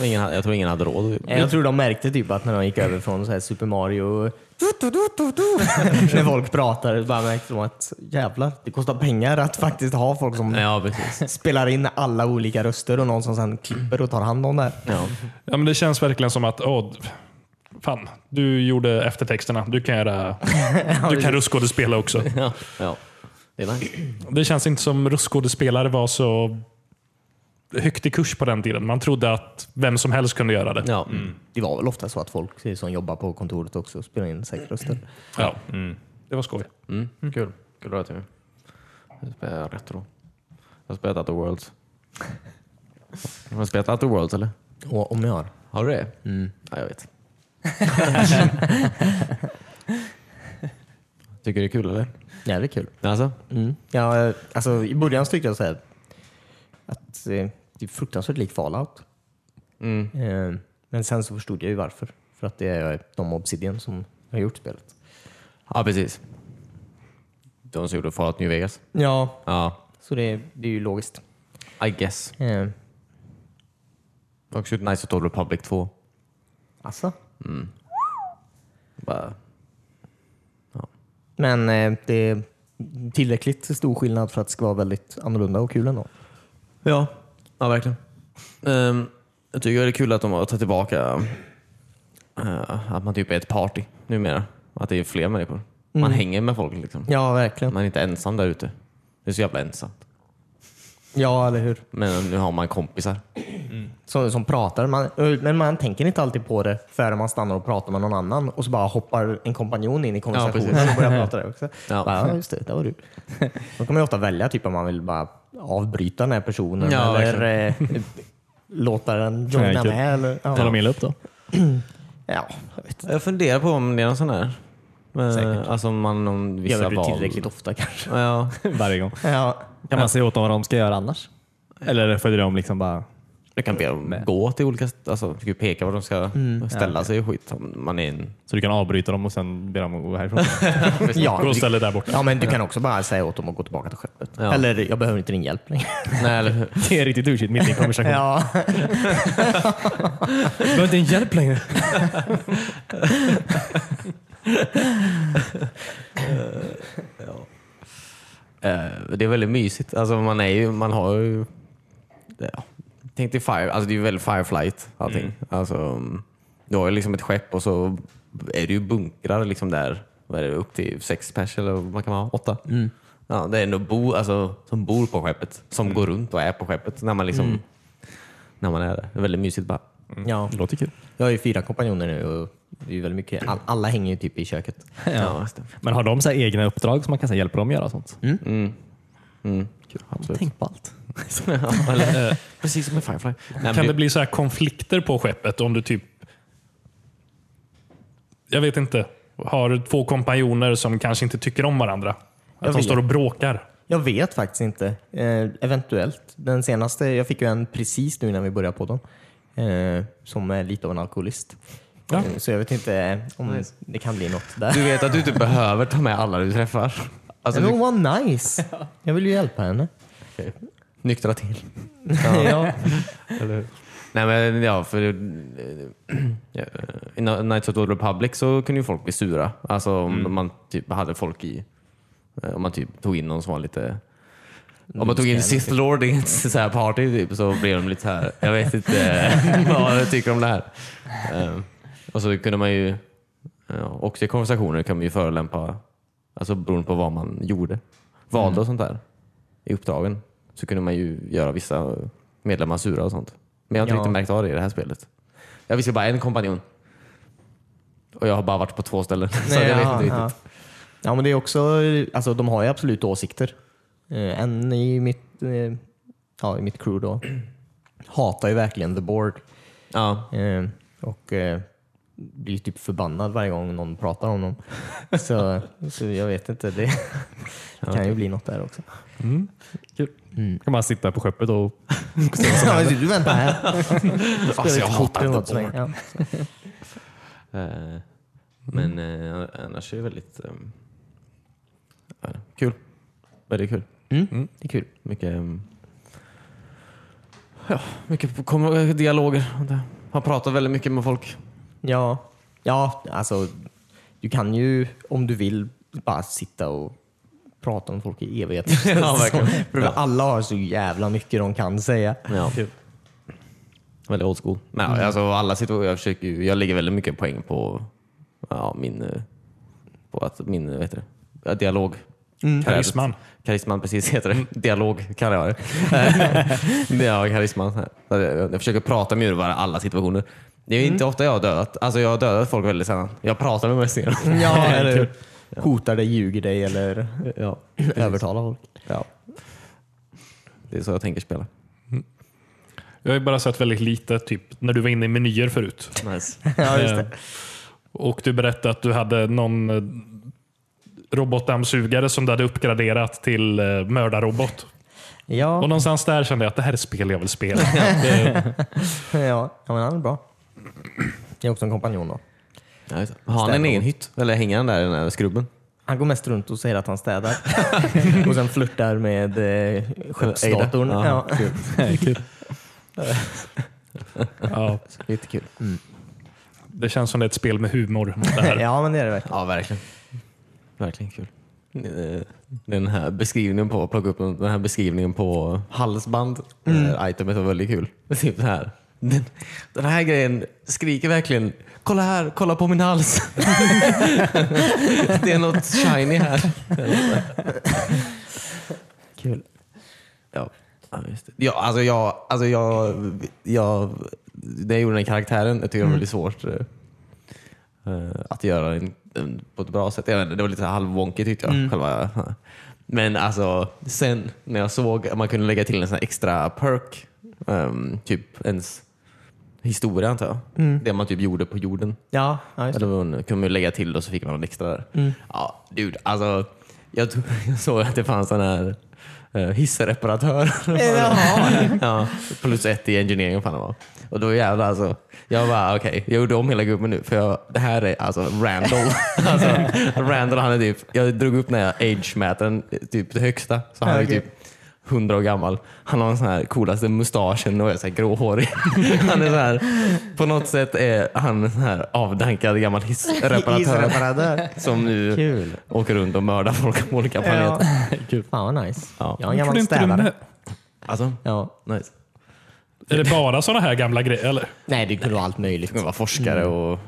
Speaker 2: Och ingen, hade- jag tror ingen hade råd.
Speaker 1: Jag tror de märkte typ att när de gick över från så här Super Mario när folk pratade bara märkte de att jävlar, det kostar pengar att faktiskt ha folk som
Speaker 2: Ja, precis.
Speaker 1: spelar in alla olika röster och någon som sen klipper och tar hand om det. här.
Speaker 2: Ja.
Speaker 3: ja, men det känns verkligen som att åh, fan, du gjorde eftertexterna. Du kan göra, du kan röstskådespela också.
Speaker 2: Ja. ja. Det är nice.
Speaker 3: Det känns inte som röstskådespelare var så högt i kurs på den tiden. Man trodde att vem som helst kunde göra det.
Speaker 2: Ja.
Speaker 1: Det var väl ofta så att folk som jobbar på kontoret också spelar in sex röster.
Speaker 3: Ja. Det var skoj.
Speaker 2: Mm. Kul. Kul att höra Jag spelar retro. Jag har spelat Outer Worlds. Har du spelat Outer Worlds eller?
Speaker 1: Och om jag har.
Speaker 2: Har du det? Mm. Ja, jag vet. Tycker du det är kul eller?
Speaker 1: Jävligt kul.
Speaker 2: Alltså?
Speaker 1: Mm. Ja, alltså, I början så tyckte jag så här, att eh, det är fruktansvärt lik Fallout.
Speaker 2: Mm.
Speaker 1: Eh, men sen så förstod jag ju varför. För att det är eh, de Obsidian som har gjort spelet.
Speaker 2: Ja, precis. De som gjorde Fallout New Vegas.
Speaker 1: Ja,
Speaker 2: Ja,
Speaker 1: så det, det är ju logiskt.
Speaker 2: I guess.
Speaker 1: Eh,
Speaker 2: De har också gjort Nice Old Republic 2.
Speaker 1: alltså.
Speaker 2: Bara,
Speaker 1: Men eh, det är tillräckligt stor skillnad för att det ska vara väldigt annorlunda och kul ändå.
Speaker 2: Ja, ja verkligen. Ehm, jag tycker det är kul att de har tagit tillbaka eh, att man typ är ett party numera. Att det är fler människor. Man hänger med folk liksom.
Speaker 1: Ja, verkligen.
Speaker 2: Man är inte ensam där ute. Det är så jävla ensamt.
Speaker 1: Ja, eller hur?
Speaker 2: Men nu har man kompisar.
Speaker 1: Som, som pratar. Man, men man tänker inte alltid på det förrän man stannar och pratar med någon annan och så bara hoppar en kompanjon in i konversationen
Speaker 2: precis.
Speaker 1: och börjar prata där också.
Speaker 2: Ja.
Speaker 1: Ja. Bara, ja, just det, där var du. Då kan man ju ofta välja typ om man vill bara avbryta den här personen
Speaker 2: Ja,
Speaker 1: eller eh, låta den joina
Speaker 4: Enkelt.
Speaker 1: med. Eller,
Speaker 4: Tar
Speaker 1: ja.
Speaker 4: de illa upp då?
Speaker 1: ja, jag vet inte.
Speaker 2: Jag funderar på om det är någon sån här. Men,
Speaker 1: Säkert.
Speaker 2: Alltså om man om vissa
Speaker 1: Gör det
Speaker 2: val.
Speaker 1: tillräckligt ofta kanske.
Speaker 2: Ja,
Speaker 4: Varje gång.
Speaker 1: Ja.
Speaker 4: Kan man säga åt dem vad de ska göra annars? Eller följer de liksom bara...
Speaker 2: du kan be dem gå till olika, alltså du kan ju peka var de ska ställa sig och skit. Om Man är en,
Speaker 4: Så du kan avbryta dem och sen be dem att gå härifrån?
Speaker 1: Ja,
Speaker 3: Gå och
Speaker 1: du-
Speaker 3: ställ dig där borta.
Speaker 1: Ja, men du kan också bara säga åt dem att gå tillbaka till skeppet.
Speaker 2: Ja.
Speaker 1: Eller, jag behöver inte din hjälp längre.
Speaker 2: nej, eller hur?
Speaker 4: det är riktigt douchigt mitt i en konversation.
Speaker 1: Ja.
Speaker 4: Du har inte en hjälp längre.
Speaker 2: Eh, det är väldigt mysigt. Alltså man är ju, man har ju... Ja. Tänk dig Fire, alltså det är ju väldigt Fireflight allting. Alltså, mm, du har ju liksom ett skepp och så är det ju bunkrar liksom där. Vad är det, upp till sex pers eller vad kan man ha? Åtta? Ja, det är ändå bo, alltså, som bor på skeppet, som går runt och är på skeppet när man liksom... När man är där. Det är väldigt mysigt bara.
Speaker 1: ja.
Speaker 4: Låter kul.
Speaker 1: Jag har ju fyra kompanjoner nu och det är ju väldigt mycket. All, alla hänger ju typ i köket.
Speaker 2: Ja. Ja, just det.
Speaker 4: Men har de så här egna uppdrag som man kan så här hjälpa dem göra sånt?
Speaker 2: Mm. Kul, absolut.
Speaker 4: Tänk på allt.
Speaker 2: Ja, eller, Precis som i Firefly. Nej,
Speaker 3: Kan
Speaker 2: men
Speaker 3: det bli så här konflikter på skeppet om du typ... Jag vet inte. Har två kompanjoner som kanske inte tycker om varandra. Att de
Speaker 1: vet.
Speaker 3: står och bråkar.
Speaker 1: Jag vet faktiskt inte. Eh, eventuellt. Den senaste, jag fick ju en precis nu när vi började på dem. Eh, som är lite av en alkoholist.
Speaker 3: Ja.
Speaker 1: Eh, Så jag vet inte om det kan bli något där.
Speaker 2: Du vet att du inte behöver ta med alla du träffar. Alltså,
Speaker 1: Men
Speaker 2: du
Speaker 1: hon var nice. Jag vill ju hjälpa henne.
Speaker 2: nyktra till.
Speaker 1: Ja.
Speaker 2: Mm. Nej men ja, för eh, ja, i Na- Knights of the Old Republic så kunde ju folk bli sura. Alltså om man typ hade folk i, eh, om man typ tog in någon som var lite om man tog in Sith Lord i ett så här party typ, så blev de lite så här. jag vet inte vad jag tycker om det här. Eh, Och så kunde man ju, ja, också i konversationer kan man ju förolämpa, alltså beroende på vad man gjorde,
Speaker 1: Mm.
Speaker 2: valde och sånt där i uppdragen så kunde man ju göra vissa medlemmar sura och sånt. Men jag har inte
Speaker 1: Ja.
Speaker 2: riktigt märkt av det i det här spelet. Jag visste bara en kompanjon. Och jag har bara varit på två ställen. så jag vet inte riktigt.
Speaker 1: ja. ja, men det är också, alltså de har ju absolut åsikter. Eh, en i mitt, eh, ja, i mitt crew då hatar ju verkligen the board.
Speaker 2: Ja.
Speaker 1: Eh, och eh, blir typ förbannad varje gång någon pratar om dem. Så, så jag vet inte, det, det kan ju bli något där också.
Speaker 4: Kan man sitta på skeppet och...
Speaker 1: Ja, men du väntar här. Fast
Speaker 2: jag hatar inte
Speaker 1: mig. Ja.
Speaker 2: Eh, Men
Speaker 1: mm.
Speaker 2: eh, annars är det väldigt eh, ja, kul. Väldigt kul.
Speaker 1: Mm. Det är kul.
Speaker 2: Mycket, ehm, ja, mycket kom- dialoger. Han pratar väldigt mycket med folk.
Speaker 1: Ja, ja alltså du kan ju om du vill bara sitta och prata med folk i evighet.
Speaker 2: Ja, verkligen.
Speaker 1: Så- för
Speaker 2: Ja.
Speaker 1: Alla har så jävla mycket de kan säga.
Speaker 2: Ja. Väldigt old school. Typ. Men, ja, alltså, alla situationer, jag, försöker, ju- jag lägger väldigt mycket poäng på, ja, min, eh, på att min eh, vad heter det? Ja, dialog.
Speaker 3: Karisman.
Speaker 2: Karisman, precis heter det. Dialog kallar jag det. ja, karisman. Jag, jag försöker prata med djur i alla situationer. Det är ju inte ofta jag har dödat. Alltså jag har dödat folk väldigt sällan. Jag pratar med mig sen.
Speaker 1: Ja, eller hotar dig, ljuger dig eller
Speaker 2: ja,
Speaker 1: övertalar folk.
Speaker 2: ja. Det är så jag tänker spela.
Speaker 3: Jag har ju bara sett väldigt lite, typ när du var inne i menyer förut.
Speaker 2: Nice.
Speaker 1: Ja, just
Speaker 3: Eh,
Speaker 1: det.
Speaker 3: Och du berättade att du hade någon eh, robotdammsugare som du hade uppgraderat till eh, mördarrobot. Och
Speaker 1: Ja,
Speaker 3: någonstans där kände jag att det här är ett spel jag vill spela.
Speaker 1: ja, ja men han är bra. Det är också en kompanjon då.
Speaker 2: Ja, just det. Har han en egen hytt? Eller hänger han där i den här skrubben?
Speaker 1: Han går mest runt och säger att han städar och sen flörtar med eh, skeppsdatorn.
Speaker 2: Ada.
Speaker 1: Ja.
Speaker 3: ja,
Speaker 2: Jättekul.
Speaker 3: det känns som det är ett spel med humor. Det här.
Speaker 1: ja, men det är det verkligen.
Speaker 2: Ja, verkligen. Verkligen kul. Eh, Den här beskrivningen på, plocka upp den här beskrivningen på halsband, det här itemet var väldigt kul. Typ det här. Den, den här grejen skriker verkligen “Kolla här, kolla på min hals!” Det är något shiny här.
Speaker 1: Kul.
Speaker 2: Ja, ja, just det. Ja, alltså jag, alltså jag, jag, när jag gjorde den karaktären, jag tycker det var väldigt svårt eh, eh, att göra den den på ett bra sätt. Jag vet, inte, det var lite så här halvwonky tyckte jag.
Speaker 1: Mm.
Speaker 2: Själva, men alltså, sen när jag såg att man kunde lägga till en sån här extra perk, ehm, typ ens historia antar jag. Det man typ gjorde på jorden.
Speaker 1: Ja, ja Mm. just det. Mm.
Speaker 2: Eller vad hon kunde man lägga till och så fick man en extra där. Ja, dude, alltså, jag, tog, jag såg att det fanns en här eh, hissreparatör. ja, plus ett i engineering fan det var. Och då jävlar alltså. Jag bara okej, jag gjorde om hela gubben nu för jag, det här är alltså Randall. alltså, Randall han är typ, jag drog upp den här age-mätaren, typ det högsta. Så han är
Speaker 1: Okej.
Speaker 2: typ 100 år gammal. Han har den så här coolaste mustaschen och är så här gråhårig. Han är så här, på något sätt är han en så här avdankad gammal hissreparatör
Speaker 1: Isreparatör.
Speaker 2: som nu
Speaker 1: Kul.
Speaker 2: åker runt och mördar folk på olika planeter.
Speaker 1: Kul. Fan vad nice.
Speaker 2: Ja.
Speaker 1: Jag är en gammal
Speaker 3: Trodde inte du
Speaker 1: städare.
Speaker 3: med-
Speaker 2: Alltså,
Speaker 1: Ja.
Speaker 2: nice.
Speaker 3: Är det bara sådana här gamla grejer? Eller?
Speaker 1: Nej, det kunde vara allt
Speaker 2: Du
Speaker 1: möjligt.
Speaker 2: kan vara forskare
Speaker 1: Mm.
Speaker 2: och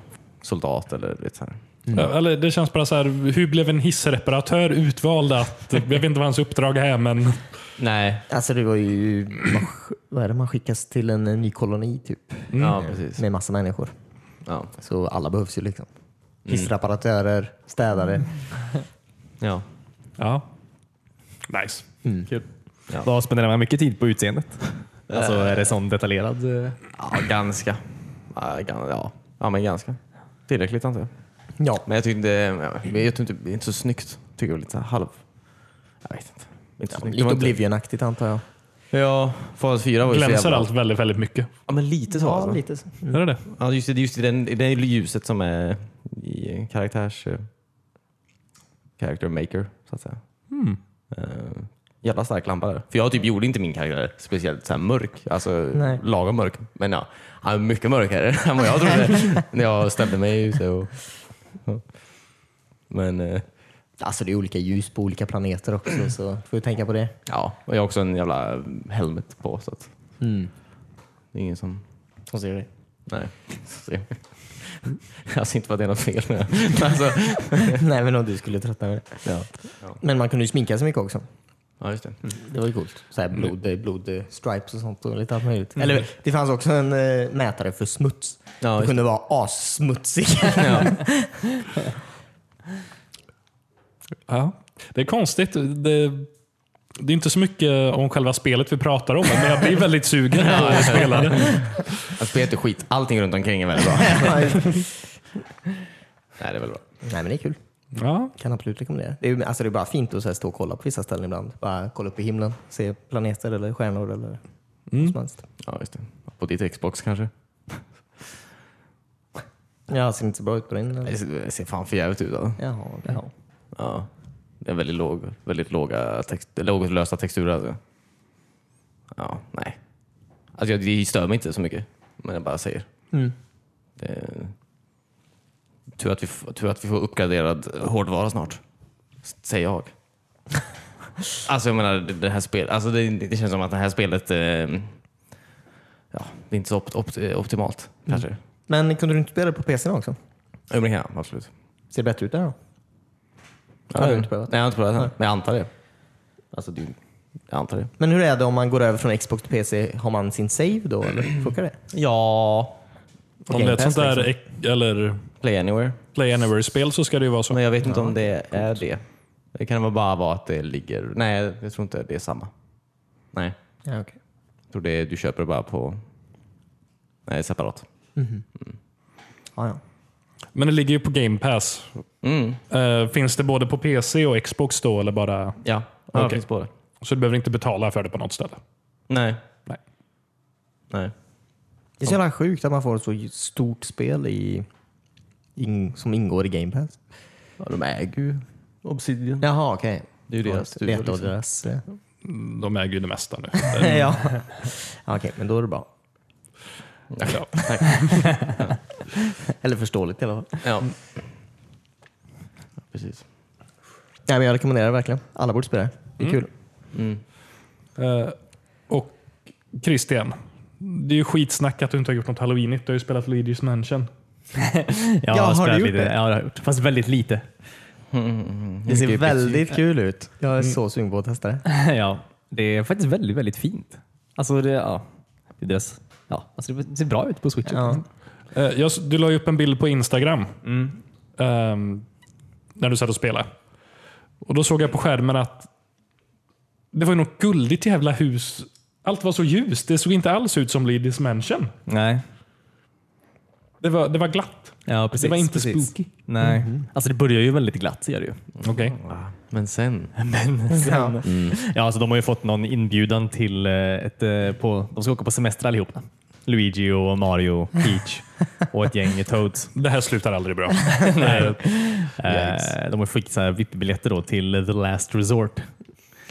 Speaker 2: soldat eller lite så här.
Speaker 3: eller det känns bara så här, hur blev en hissreparatör utvald att... Jag vet inte vad hans uppdrag är, men...
Speaker 2: Nej.
Speaker 1: Alltså det var ju, man sk- vad är det, man skickas till en eh, ny koloni typ.
Speaker 2: Ja, precis.
Speaker 1: Med massa människor.
Speaker 2: Ja.
Speaker 1: Så alla behövs ju liksom.
Speaker 2: Mm.
Speaker 1: Hissreparatörer, städare.
Speaker 2: Ja.
Speaker 3: Ja. Nice.
Speaker 4: Vad spenderar man mycket tid på utseendet? Alltså är det sån detaljerad? eh,
Speaker 2: ja, ganska. Ja, gan- Ja. ja, men ganska. Tillräckligt antar jag.
Speaker 1: Ja,
Speaker 2: Men jag tyckte, ja, men jag tyckte inte, det är inte så snyggt. Tycker det var lite så här halv... Jag vet inte. Inte så snyggt. Det
Speaker 1: lite
Speaker 2: var inte-
Speaker 1: Oblivion-aktigt antar jag.
Speaker 2: Ja, Fallout 4 var ju så
Speaker 3: Glänser
Speaker 2: jävla-
Speaker 3: allt väldigt, väldigt mycket.
Speaker 2: Ja, men lite så.
Speaker 1: Ja,
Speaker 2: alltså.
Speaker 1: lite så.
Speaker 3: Är det det?
Speaker 2: Ja, just det, just det, den, det är ljuset som är i karaktärs... eh, Character maker, så att säga. Eh, jävla stark lampa där. För jag typ gjorde inte min karaktär speciellt så här mörk. Alltså
Speaker 1: Nej.
Speaker 2: lagom mörk. Men ja, han är mycket mörkare än vad jag trodde när jag ställde mig ute. Och, ja. Men eh,
Speaker 1: Alltså det är olika ljus på olika planeter
Speaker 2: Mm.
Speaker 1: också så får vi tänka på det.
Speaker 2: ja, och jag har också en jävla helmet på. Så att Mm. det är ingen som...
Speaker 1: Som ser det.
Speaker 2: Nej. Så, alltså inte för att det är något fel med det. Alltså,
Speaker 1: Nej men om du skulle tröttna med det.
Speaker 2: ja.
Speaker 1: Men man kunde ju sminka sig mycket också.
Speaker 2: ja, just det.
Speaker 1: Det var ju coolt. Så här
Speaker 2: Mm.
Speaker 1: blod, blod, eh, stripes och sånt och lite allt möjligt. Eller det fanns också en eh, mätare för smuts.
Speaker 2: Ja,
Speaker 1: det
Speaker 2: just
Speaker 1: kunde vara assmutsig.
Speaker 3: Ja. Det är konstigt. Det, det är inte så mycket om själva spelet vi pratar om, men jag blir väldigt sugen när jag spelar det.
Speaker 2: Att spela inte skit. Allting runt omkring är väldigt bra. Nej, det är väl bra.
Speaker 1: Nej men det är kul.
Speaker 3: Ja,
Speaker 1: Kan absolut rekommendera. Det är, ju- alltså, det är bara fint att så här, stå och kolla på vissa ställen ibland. Bara kolla upp i himlen, se planeter eller stjärnor eller
Speaker 2: Mm.
Speaker 1: vad som helst.
Speaker 2: Ja, just det. På ditt Xbox kanske?
Speaker 1: Ja, ser inte så bra ut på din. eller?
Speaker 2: Det ser- det ser fan för jävligt ut. alltså. Då.
Speaker 1: Jaha, okej.
Speaker 2: Ja. Det är väldigt, låg, väldigt låga text, lågt lösa texturer. Alltså. Ja, nej. Alltså, jag, det stör mig inte så mycket, men jag bara säger.
Speaker 1: Mm.
Speaker 2: Det, tur, att vi, f- tur att vi får uppgraderad hårdvara snart, s- säger jag. alltså jag menar, det, det här spelet, alltså, det, det känns som att det här spelet, eh, ja, det är inte så opt, opt, optimalt kanske. Mm.
Speaker 1: Men kunde du inte spela det på PC också?
Speaker 2: Jo, men det kan jag, absolut.
Speaker 1: Ser det bättre ut där då?
Speaker 2: Ja,
Speaker 1: Har du
Speaker 2: ja.
Speaker 1: inte prövat?
Speaker 2: Nej, jag har inte prövat det. Men jag antar det. Alltså, det, jag antar det.
Speaker 1: Men hur är det om man går över från Xbox till PC? Har man sin save då eller funkar det?
Speaker 2: Ja.
Speaker 3: om det är ett sånt där
Speaker 1: liksom.
Speaker 3: ek- eller
Speaker 2: Play anywhere.
Speaker 3: Play Anywhere-spel så ska det ju vara så.
Speaker 2: Men jag vet inte om det är det. Det kan väl bara vara att det ligger... Nej, jag tror inte det är samma. Nej,
Speaker 1: Ja, okej.
Speaker 2: jag tror det är, du köper det bara på... Nej, separat.
Speaker 1: ja, ja.
Speaker 3: Men det ligger ju på Game Pass.
Speaker 2: Mm,
Speaker 3: Eh, finns det både på PC och Xbox då? Eller bara...
Speaker 2: ja. Ja,
Speaker 3: Okej.
Speaker 2: det finns både.
Speaker 3: Så du behöver inte betala för det på något ställe?
Speaker 2: Nej.
Speaker 3: Nej.
Speaker 2: Nej.
Speaker 1: Det är så jävla sjukt att man får ett så stort spel i, in, som ingår i Game Pass.
Speaker 2: Ja, de äger ju Obsidian.
Speaker 1: Jaha, okej. Okay.
Speaker 2: Det är ju deras
Speaker 1: Det
Speaker 2: studio.
Speaker 1: är ett av
Speaker 2: Liksom.
Speaker 1: deras... eh,
Speaker 3: Mm, De äger ju det mesta nu.
Speaker 1: ja. Okej, men då är det bra.
Speaker 3: ja.
Speaker 1: Eller förståeligt i alla fall.
Speaker 2: Ja. Precis.
Speaker 1: Nej, men jag rekommenderar det verkligen. Alla borde spela det. Det är
Speaker 2: Mm.
Speaker 1: kul.
Speaker 3: Eh, och Christian, det är ju skitsnack att du inte har gjort något halloweenigt. Du har ju spelat Luigi's Mansion.
Speaker 4: Jag
Speaker 1: Ja, har
Speaker 4: spelat
Speaker 1: du gjort det?
Speaker 4: lite. Ja, det har jag gjort. Fast väldigt lite.
Speaker 1: Det ser väldigt kul ut. Jag är
Speaker 2: Mm.
Speaker 1: så sugen på att testa det.
Speaker 4: ja, det är faktiskt väldigt, väldigt fint. Alltså det, ja, det, är deras, ja, alltså det ser bra ut på switchen.
Speaker 1: Ja.
Speaker 3: Eh, jag, du la ju upp en bild på Instagram Mm. ehm, när du satt och spelade. Och Då såg jag på skärmen att det var ju något guldigt jävla hus. Allt var så ljust. Det såg inte alls ut som Luigi's Mansion.
Speaker 4: Nej,
Speaker 3: Det var, det var glatt.
Speaker 4: ja, precis.
Speaker 3: det var inte
Speaker 4: precis.
Speaker 3: spooky.
Speaker 4: Nej. Alltså det börjar ju väldigt glatt ser det ju.
Speaker 3: Okej.
Speaker 2: Ja. Men sen.
Speaker 4: Men sen, ja, alltså de har ju fått någon inbjudan till eh, ett, eh, på, de ska åka på semester allihopa. Luigi och Mario, Peach och ett gäng Toads.
Speaker 3: Det här slutar aldrig bra. Nej.
Speaker 2: Yikes.
Speaker 4: Eh, De har skickat så här VIP-biljetter då till The Last Resort.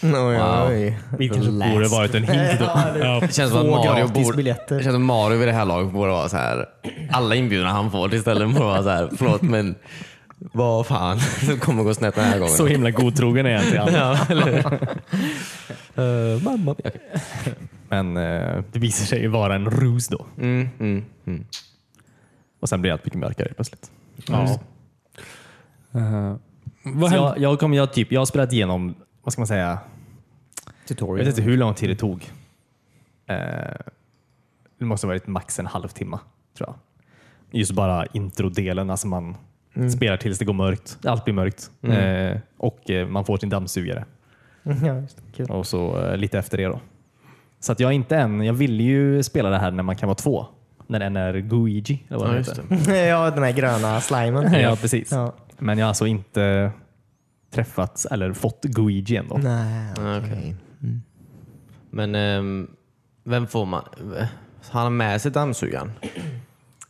Speaker 1: Oj,
Speaker 2: Wow.
Speaker 1: oj.
Speaker 4: Vilket kanske
Speaker 1: Last.
Speaker 4: borde varit en hint då.
Speaker 3: ja.
Speaker 2: Det känns som att
Speaker 1: Två
Speaker 2: Mario
Speaker 1: gratis
Speaker 2: borde, det
Speaker 1: biljetter.
Speaker 2: känns som att Mario vid det här laget borde vara så här. alla inbjudna han får istället borde vara så här. förlåt men vad fan, det kommer gå snett den här gången.
Speaker 4: Så himla godtrogen är jag inte. Anna.
Speaker 2: ja, eller?
Speaker 4: Eh, mamma. Men eh, det visar sig ju vara en rus då.
Speaker 2: Mm, mm, mm.
Speaker 4: Och sen blir allt mycket mörkare plötsligt. Mm.
Speaker 3: Ja. Eh, vad
Speaker 4: Så
Speaker 3: hände?
Speaker 4: jag, jag, kom, jag, typ, jag har spelat igenom, vad ska man säga, jag vet
Speaker 1: Tutorial.
Speaker 4: inte hur lång tid det tog. Eh, det måste ha varit max en halvtimme tror jag. Just bara introdelen, alltså man
Speaker 1: Mm.
Speaker 4: spelar tills det går mörkt. Allt blir mörkt eh, och eh, man får sin dammsugare.
Speaker 1: Ja, just det. Kul.
Speaker 4: och så eh, lite efter det då. Så att jag är inte än, jag vill ju spela det här när man kan vara två. När en är Guigi eller vad
Speaker 2: Ja,
Speaker 4: den
Speaker 2: just
Speaker 4: heter.
Speaker 1: ja, den här gröna slimen.
Speaker 4: Ja, precis.
Speaker 1: Ja.
Speaker 4: Men jag har alltså inte träffats eller fått Guigi än då.
Speaker 1: Nej, okej.
Speaker 2: Ja, okej. Men ehm, vem får man? Har han med sig dammsugaren?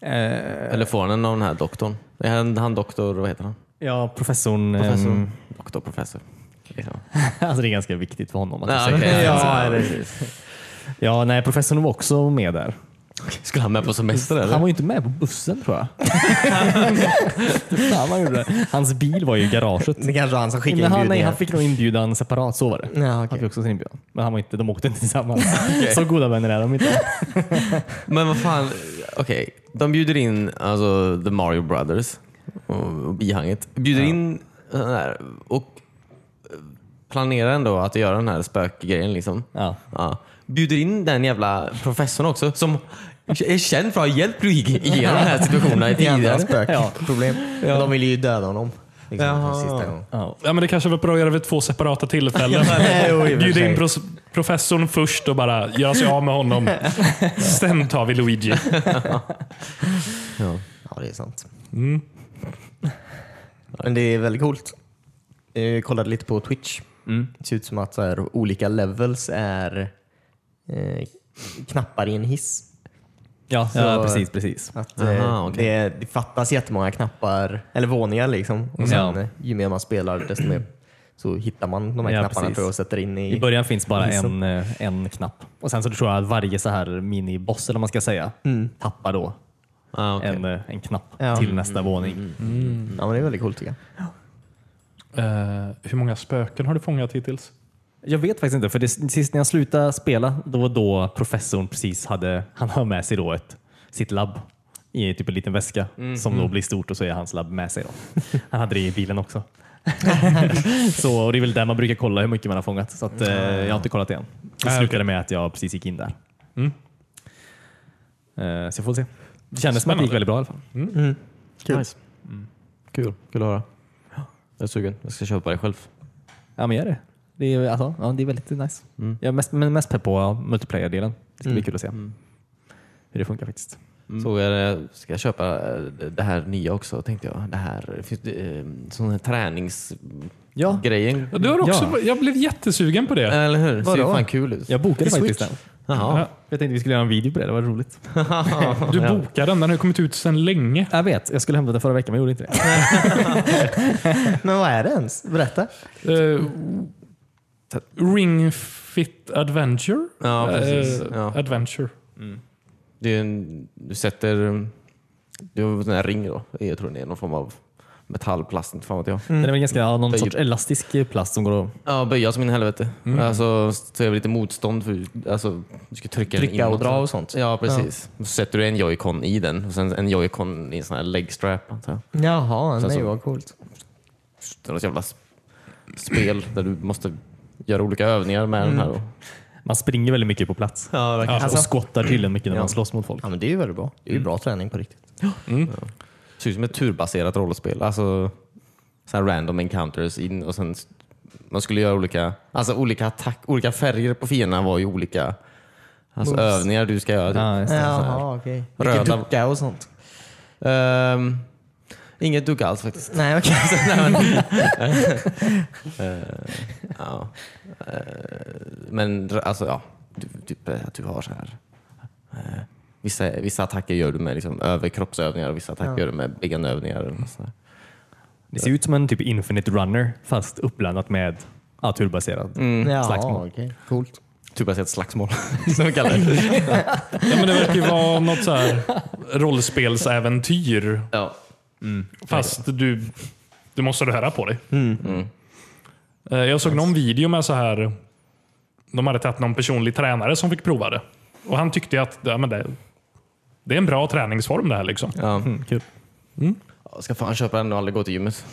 Speaker 4: Eh,
Speaker 2: Eller får han den av den här doktorn? Är han, han doktor, vad heter han?
Speaker 4: ja, professorn. ehm,
Speaker 2: Professor? Doktor, professor. Liksom.
Speaker 4: alltså det är ganska viktigt för honom. Att
Speaker 2: Ja,
Speaker 4: jag säger
Speaker 2: okej.
Speaker 4: det.
Speaker 2: Ja,
Speaker 4: Så- ja, nej, professorn var också med där.
Speaker 2: Skulle han med på semester eller?
Speaker 4: Han var ju inte med på bussen tror jag. Fan, vad gjorde det. Hans bil var ju i garaget.
Speaker 1: Det kanske var han som skickade
Speaker 4: Men han, nej,
Speaker 1: inbjudningen.
Speaker 4: han fick nog inbjudan separat, så var det.
Speaker 1: Ja,
Speaker 4: Han
Speaker 1: okej.
Speaker 4: fick också sin inbjudan. Men han var inte, de åkte inte tillsammans. Så goda vänner är de inte.
Speaker 2: Men vad fan, okej. De bjuder in alltså, The Mario Brothers och, och bihanget. Bjuder in eh, den här och eh, planerar ändå att göra den här spökgrejen. Liksom.
Speaker 4: Ja.
Speaker 2: Ja. Bjuder in den jävla professorn också som är känd för att ha hjälpt Luigi igenom de här situationerna
Speaker 1: Jävla
Speaker 2: tidigare.
Speaker 1: spökproblem. Men De ville ju döda honom. Liksom, för sista gången.
Speaker 3: Ja, men det kanske var bra att göra vid två separata tillfällen.
Speaker 1: jo, i och för
Speaker 3: Bjuda
Speaker 1: sig.
Speaker 3: in pros- professorn först och bara göra sig av med honom. Sen tar vi Luigi.
Speaker 1: Ja, det är sant. Men det är väldigt coolt. Eh, Jag kollade lite på Twitch.
Speaker 4: Mm.
Speaker 1: Det ser ut som att så här, olika levels är eh, knappar i en hiss.
Speaker 4: Ja,
Speaker 1: så-
Speaker 4: precis. precis.
Speaker 1: Att,
Speaker 2: Aha,
Speaker 1: eh,
Speaker 2: okej.
Speaker 1: det, det fattas jättemånga knappar, eller våningar liksom. Och sen,
Speaker 4: Ja.
Speaker 1: eh, Ju mer man spelar desto mer så hittar man de här
Speaker 4: Ja,
Speaker 1: knapparna
Speaker 4: precis.
Speaker 1: tror jag och sätter in i...
Speaker 4: I början finns bara
Speaker 1: Liksom.
Speaker 4: en, eh, en knapp. Och sen så tror jag att varje så här miniboss, eller vad man ska säga, tappar då
Speaker 2: Ah, okej.
Speaker 4: en, eh, en knapp
Speaker 1: Ja.
Speaker 4: till nästa våning.
Speaker 1: Ja, men det är väldigt coolt tycker jag.
Speaker 3: Eh, hur många spöken har du fångat hittills?
Speaker 4: Jag vet faktiskt inte, för det, sist när jag slutade spela, då var då professorn precis hade, han har med sig då ett, sitt labb i typ en liten väska
Speaker 3: Mm.
Speaker 4: som då blir stort och så är hans labb med sig. Då. Han hade det i bilen också. så, och det är väl där man brukar kolla hur mycket man har fångat, så att, eh, jag har inte kollat det än. Det
Speaker 3: Ah,
Speaker 4: slutade med att jag precis gick in där.
Speaker 3: Mm.
Speaker 4: Eh, så jag får se. Det kändes som att det gick väldigt bra i alla fall.
Speaker 1: Kul.
Speaker 2: Nice. Kul. Kul att höra. Jag är sugen. Jag ska köpa det själv.
Speaker 4: Ja, men gör det. Det är, alltså, ja, det är väldigt nice. Jag är mest, men mest pepp på ja, multiplayer-delen. Det ska bli kul att se hur det funkar faktiskt.
Speaker 2: Såg jag, det- ska jag köpa eh, det här nya också tänkte jag. Det här, det finns eh, sån här träningsgrejen.
Speaker 4: Ja,
Speaker 3: Du har också,
Speaker 4: Ja.
Speaker 3: Jag blev jättesugen på det.
Speaker 2: Eller hur? Ser ju
Speaker 1: Vadå?
Speaker 2: fan kul ut.
Speaker 4: jag bokade
Speaker 1: I
Speaker 4: faktiskt
Speaker 1: Switch?
Speaker 4: den.
Speaker 2: Jaha.
Speaker 4: Jag tänkte vi skulle göra en video på det, det var roligt.
Speaker 3: Du bokade den, den har ju kommit ut sedan länge.
Speaker 4: Jag vet, jag skulle hämta den förra veckan men jag gjorde inte det.
Speaker 1: Men vad är det ens? Berätta.
Speaker 3: Eh, Ring Fit Adventure?
Speaker 2: Ja, precis.
Speaker 3: Eh,
Speaker 2: Ja.
Speaker 3: Adventure.
Speaker 2: Det är en, du sätter... Du har en sån här ring då. Jag tror det är någon form av metallplast, inte fan vet jag.
Speaker 4: Den är väl ganska, ja, någon
Speaker 2: Böj.
Speaker 4: sorts elastisk eh, plast som går att...
Speaker 2: Ja, böja som in i helvete. Alltså, så är det lite motstånd för alltså, du ska trycka, den
Speaker 1: Trycka
Speaker 2: in
Speaker 1: och dra och sånt.
Speaker 2: Ja, precis. Så sätter du en joycon i den och sen en joycon i en sån här legstrap antar jag.
Speaker 1: Jaha,
Speaker 2: Så
Speaker 1: nej
Speaker 4: alltså,
Speaker 2: som-
Speaker 1: vad coolt.
Speaker 2: Det är något jävla sp- spel där du måste göra olika övningar med den här. Då.
Speaker 4: Man springer väldigt mycket på plats.
Speaker 2: Ja, verkligen.
Speaker 4: Och skottar tydligen mycket när
Speaker 2: Ja.
Speaker 4: man slåss mot folk.
Speaker 1: alltså. Ja, men det är ju väldigt bra. Det är ju bra träning på riktigt.
Speaker 2: Ser ut som ett turbaserat rollspel. Alltså så här random encounters in och sen man skulle göra olika, alltså olika attack, olika färger på fienderna var ju olika alltså
Speaker 1: Moves.
Speaker 2: övningar du ska göra. Typ.
Speaker 4: Ja, just det.
Speaker 2: Så här.
Speaker 1: Jaha, okej. Mycket
Speaker 2: Röda-
Speaker 1: ducka och sånt.
Speaker 2: Ehm, inget dugg alls faktiskt.
Speaker 1: Nej, okej.
Speaker 2: Ja. Eh, Men r- alltså ja, du, typ eh, att du har så här. eh, Vissa, vissa attacker gör du med liksom överkroppsövningar och vissa attacker
Speaker 1: Ja.
Speaker 2: gör du med benövningar. eller något sånt där.
Speaker 4: Det ser ut som en typ Infinite Runner fast uppblandat med ja, turbaserad.
Speaker 1: Jaha,
Speaker 4: Slagsmål.
Speaker 1: okej. Mm, Coolt.
Speaker 2: Turbaserat slagsmål, som vi kallar det.
Speaker 3: Ja, men det verkar ju vara något så här rollspelsäventyr.
Speaker 2: Ja.
Speaker 3: Fast du, du måste ha det här på dig. Eh, Jag såg någon video med så här. De hade tagit någon personlig tränare som fick prova det. Och han tyckte att ja, men det, det är en bra träningsform det här. Liksom.
Speaker 2: Ja.
Speaker 4: Mm, Kul.
Speaker 2: Jag Ska fan köpa den och aldrig gå till gymmet.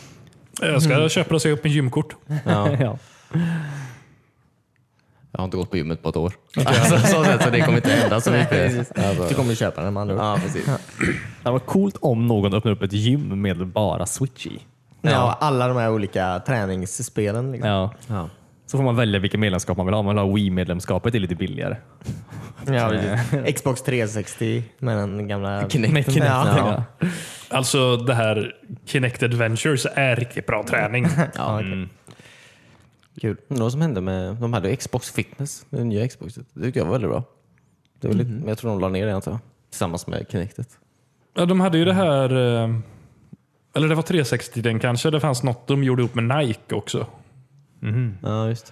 Speaker 3: Jag ska köpa och se upp en gymkort.
Speaker 2: Ja.
Speaker 4: Ja.
Speaker 2: Jag har inte gått på gymmet på ett år. Alltså, så, sätt, så det kommer inte hända så mycket.
Speaker 1: Du
Speaker 2: Alltså.
Speaker 1: kommer ju köpa den med andra ord.
Speaker 2: Ja, precis.
Speaker 4: Det var coolt om någon öppnade upp ett gym med bara Switch i.
Speaker 1: Ja, alla de här olika träningsspelen. Liksom.
Speaker 4: Ja.
Speaker 2: Ja.
Speaker 4: Så får man välja vilket medlemskap man vill ha. Om man vill ha Wii-medlemskapet, det är lite billigare.
Speaker 1: Ja, precis. Xbox 360 med den gamla...
Speaker 2: Kinect.
Speaker 4: Med Kinect,
Speaker 1: Ja.
Speaker 4: ja.
Speaker 3: Alltså det här Kinect Adventures är riktigt bra träning.
Speaker 1: Ja, okej. Kul.
Speaker 2: Undrar vad som hände med... De hade ju Xbox Fitness, det nya Xboxet. Det tyckte jag var väldigt bra. Det var lite, Men jag tror de la ner det antar jag. Tillsammans med Kinectet.
Speaker 3: Ja, de hade ju det här, eh, eller det var 360 den kanske, det fanns något de gjorde ihop med Nike också.
Speaker 2: Ja, just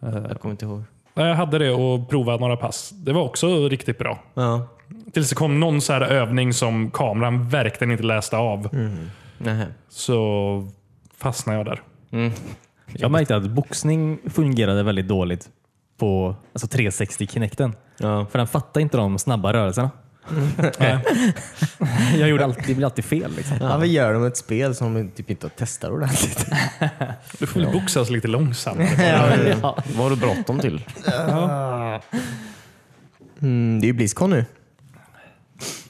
Speaker 2: det. Eh, Jag kommer inte ihåg.
Speaker 3: Ja, Jag hade det och provat några pass. Det var också riktigt bra.
Speaker 2: Ja.
Speaker 3: Tills det kom någon så här övning som kameran verkligen inte läste av.
Speaker 2: Nähä.
Speaker 3: Så fastnade jag där.
Speaker 4: Jag märkte att boxning fungerade väldigt dåligt på alltså 360 Kinecten.
Speaker 2: Ja.
Speaker 4: För den fattade inte de snabba rörelserna. jag gjorde alltid, det blev alltid fel. Liksom.
Speaker 1: Ja, vi gör dem ett spel som de typ inte testar ordentligt.
Speaker 3: Du får väl boxas lite långsammare.
Speaker 2: Vad har du bråttom till?
Speaker 1: Mm, det är ju Blizzcon nu.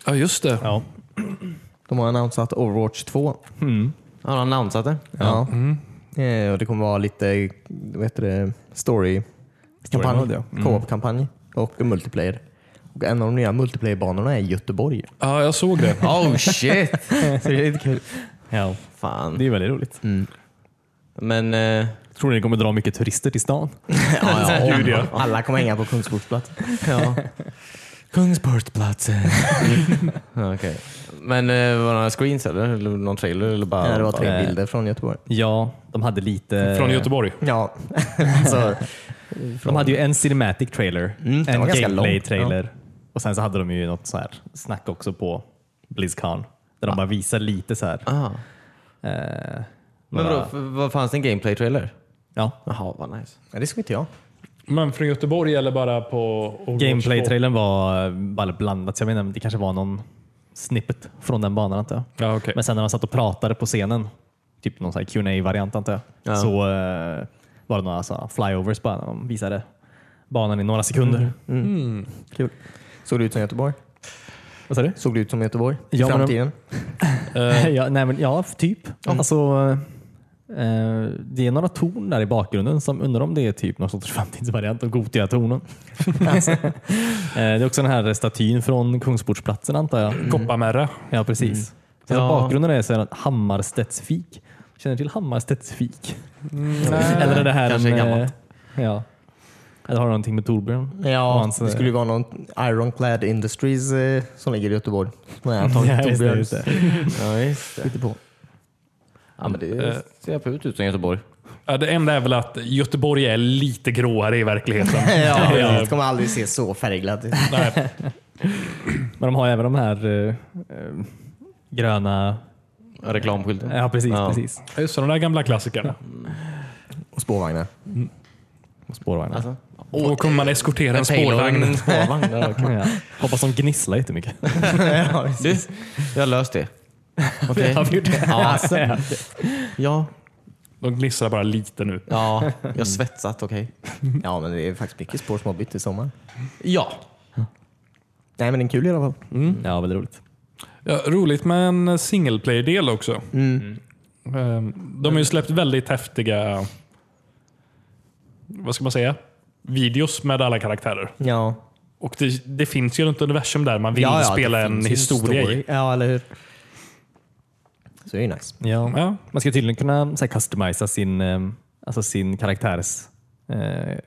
Speaker 3: Ja, just det.
Speaker 4: Ja.
Speaker 1: De har annonsat Overwatch 2.
Speaker 2: Har han annonsat det?
Speaker 1: Ja. Eh, och det kommer vara lite vad heter det, story, Mm. kampanj,
Speaker 4: mode, ja.
Speaker 1: co-op-kampanj och multiplayer. Och en av de nya multiplayer-banorna är Göteborg.
Speaker 3: Ja, jag såg det.
Speaker 2: Oh shit!
Speaker 1: Så det är lite kul.
Speaker 4: Ja.
Speaker 2: Fan.
Speaker 4: Det är väldigt roligt.
Speaker 2: Men... Eh,
Speaker 4: Tror ni det kommer dra mycket turister till stan?
Speaker 1: Ja, ja, Alla kommer hänga på Kungsportsplatsen.
Speaker 2: ja. Kungsportsplatsen. Ja, Okej. Men eh, var det några screens eller? eller någon trailer? Eller bara,
Speaker 1: Ja, det var
Speaker 2: bara-
Speaker 1: tre bilder från Göteborg.
Speaker 4: Ja, de hade lite...
Speaker 3: Från Göteborg.
Speaker 1: Ja, så,
Speaker 4: De hade ju en cinematic trailer,
Speaker 1: Mm, den
Speaker 4: en
Speaker 1: var ganska
Speaker 4: gameplay
Speaker 1: lång.
Speaker 4: trailer och sen så hade de ju något så här snack också på Blizzcon där de bara visar lite så här.
Speaker 2: Ah.
Speaker 4: Eh,
Speaker 2: Men
Speaker 4: några-
Speaker 2: vadå, f- vad fanns det en gameplay-trailer?
Speaker 4: Ja,
Speaker 2: Jaha, vad nice.
Speaker 1: ja, det såg inte jag.
Speaker 3: Men från Göteborg eller bara på... Overwatch
Speaker 4: gameplay-trailern var eh, bara blandat. så Jag menar, det kanske var någon snippet från den banan antar jag.
Speaker 3: Ja, okej.
Speaker 4: Men sen när man satt och pratade på scenen, typ någon sån här qa variant antar jag,
Speaker 2: Ja.
Speaker 4: så eh, var det några så här flyovers bara. De visade banan i några sekunder.
Speaker 1: Kul. Såg det ut som Göteborg?
Speaker 4: Vad sa du?
Speaker 1: Såg det ut som Göteborg i
Speaker 4: Ja, men de-
Speaker 1: framtiden?
Speaker 2: Eh.
Speaker 4: ja, nej, men, ja, typ.
Speaker 2: Mm.
Speaker 4: Alltså, eh, det är några torn där i bakgrunden som undrar om det är typ någon sorts framtidsvariant av Gotia-tornen. alltså, eh, det är också den här statyn från Kungsportsplatsen antar jag.
Speaker 3: Mm. Kopparmärra.
Speaker 4: Ja, precis. Sen
Speaker 2: Mm. Ja.
Speaker 4: bakgrunden är så här, Hammarstedts fik. Känner du till Hammarstedts fik?
Speaker 3: Nej.
Speaker 4: Eller är det här
Speaker 2: Mm, Kanske
Speaker 4: en,
Speaker 2: är gammalt.
Speaker 4: eh, ja. Eller har det någonting med Torbjörn? Och
Speaker 1: Ja,
Speaker 4: hans, eh,
Speaker 1: det skulle ju vara någon Ironclad Industries eh, som ligger i Göteborg. Som jag
Speaker 4: Ja,
Speaker 1: antagligen
Speaker 4: just det,
Speaker 1: Torbjörn
Speaker 4: just det.
Speaker 2: Ja, just det.
Speaker 1: sitter på.
Speaker 2: Ja, men
Speaker 3: Eh.
Speaker 2: det ser absolut ut som Göteborg.
Speaker 3: Ja, Det enda är väl att Göteborg är lite gråare i verkligheten.
Speaker 1: Ja,
Speaker 3: Ja.
Speaker 1: det kommer aldrig se så färgglatt ut.
Speaker 3: Nej.
Speaker 4: Men de har även de här eh, eh, gröna...
Speaker 2: Reklamskylten.
Speaker 4: Ja, precis.
Speaker 2: Ja.
Speaker 4: precis.
Speaker 3: Just det, de där gamla klassikerna.
Speaker 1: Och spårvagnar.
Speaker 4: Och Spårvagnar.
Speaker 2: Alltså,
Speaker 3: Då kommer man eskortera en spårvagn.
Speaker 2: En spårvagn. där, okej.
Speaker 4: Ja. Hoppas de gnisslar jättemycket.
Speaker 2: Du, jag har löst det. Okej.
Speaker 4: Har vi gjort det?
Speaker 2: Ja, ja,
Speaker 3: De gnisslar bara lite nu.
Speaker 2: ja, jag
Speaker 1: Mm.
Speaker 2: har svetsat, okej.
Speaker 1: Ja, men det är faktiskt mycket spår som har bytt i sommar.
Speaker 2: Ja.
Speaker 1: Nej, men den är kul i alla fall.
Speaker 4: Ja, väldigt roligt.
Speaker 3: Ja, roligt med en single player-del också.
Speaker 1: Mm.
Speaker 3: Ehm, De har ju släppt väldigt häftiga, vad ska man säga, videos med alla karaktärer.
Speaker 1: Ja,
Speaker 3: Och det, det finns ju ett universum där man vill
Speaker 1: Mm. ja, ja,
Speaker 3: spela
Speaker 1: det
Speaker 3: en
Speaker 1: finns ju
Speaker 3: historia
Speaker 1: story.
Speaker 3: i.
Speaker 1: Ja, eller hur? Så det är ju nice.
Speaker 4: Ja.
Speaker 3: Ja.
Speaker 4: Man ska tydligen kunna så här, customisa sin, eh, alltså sin karaktärs eh,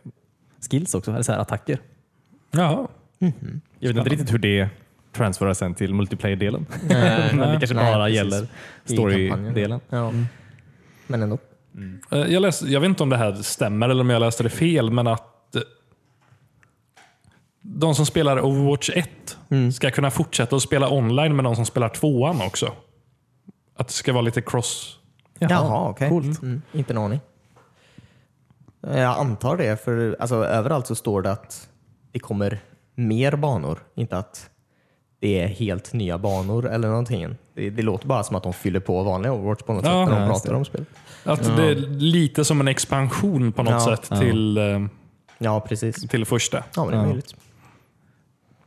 Speaker 4: skills också, eller så här, attacker.
Speaker 3: Jaha.
Speaker 4: Jag vet inte riktigt hur det transferar sen till multiplayer-delen. Men det kanske
Speaker 1: Nej,
Speaker 4: bara
Speaker 1: precis.
Speaker 4: gäller
Speaker 1: I
Speaker 4: story-delen.
Speaker 1: kampanjen. Ja. Mm. Men ändå.
Speaker 3: Eh, Jag, läste, jag vet inte om det här stämmer eller om jag läste det fel, men att eh, de som spelar Overwatch 1
Speaker 1: Mm.
Speaker 3: ska kunna fortsätta att spela online med de som spelar tvåan också. Att det ska vara lite cross...
Speaker 1: Jaha, okej.
Speaker 4: Coolt.
Speaker 1: Mm, inte en aning. Jag antar det, för alltså, överallt så står det att det kommer mer banor, inte att det är helt nya banor eller någonting. Det, det låter bara som att de fyller på vanliga Overwatch på något
Speaker 3: Ja,
Speaker 1: sätt när
Speaker 4: ja,
Speaker 1: de
Speaker 4: just
Speaker 1: pratar om spel.
Speaker 3: Att det är lite som en expansion på något
Speaker 1: Ja.
Speaker 3: sätt Till, eh,
Speaker 1: Ja, precis.
Speaker 3: till första.
Speaker 1: Ja, men det är
Speaker 4: Ja.
Speaker 1: möjligt.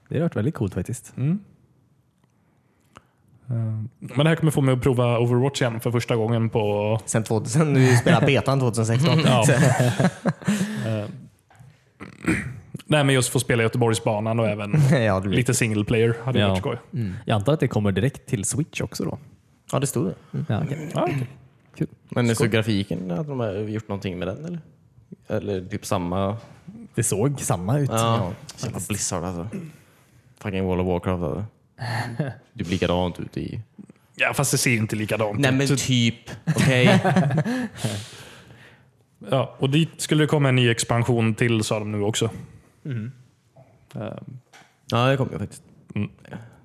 Speaker 4: Det har varit väldigt coolt faktiskt.
Speaker 2: Mm.
Speaker 3: Men det här kommer få mig att prova Overwatch igen för första gången på...
Speaker 1: Sen 2000, nu spelar betan 2016.
Speaker 3: Mm. Ja. Eh, Nej, men just få spela Göteborgsbanan och även
Speaker 1: ja, det blir.
Speaker 3: lite single player hade
Speaker 4: Ja.
Speaker 3: varit skoj.
Speaker 2: Mm.
Speaker 4: Jag antar att det kommer direkt till Switch också då.
Speaker 1: ja det stod det. Mm.
Speaker 4: Ja, okej.
Speaker 3: Ja, okej.
Speaker 2: Men så grafiken, att de har gjort någonting med den eller? Eller typ samma?
Speaker 4: Det såg samma ut.
Speaker 2: Ja. Jävla Blizzard alltså. Fucking World of Warcraft alltså. Det blir likadant ut i...
Speaker 3: ja, fast det ser ju inte likadant
Speaker 2: Nej
Speaker 3: ut.
Speaker 2: men typ. Okej.
Speaker 3: Ja, och dit skulle det komma en ny expansion till sa de nu också.
Speaker 2: Ja, det kommer jag faktiskt.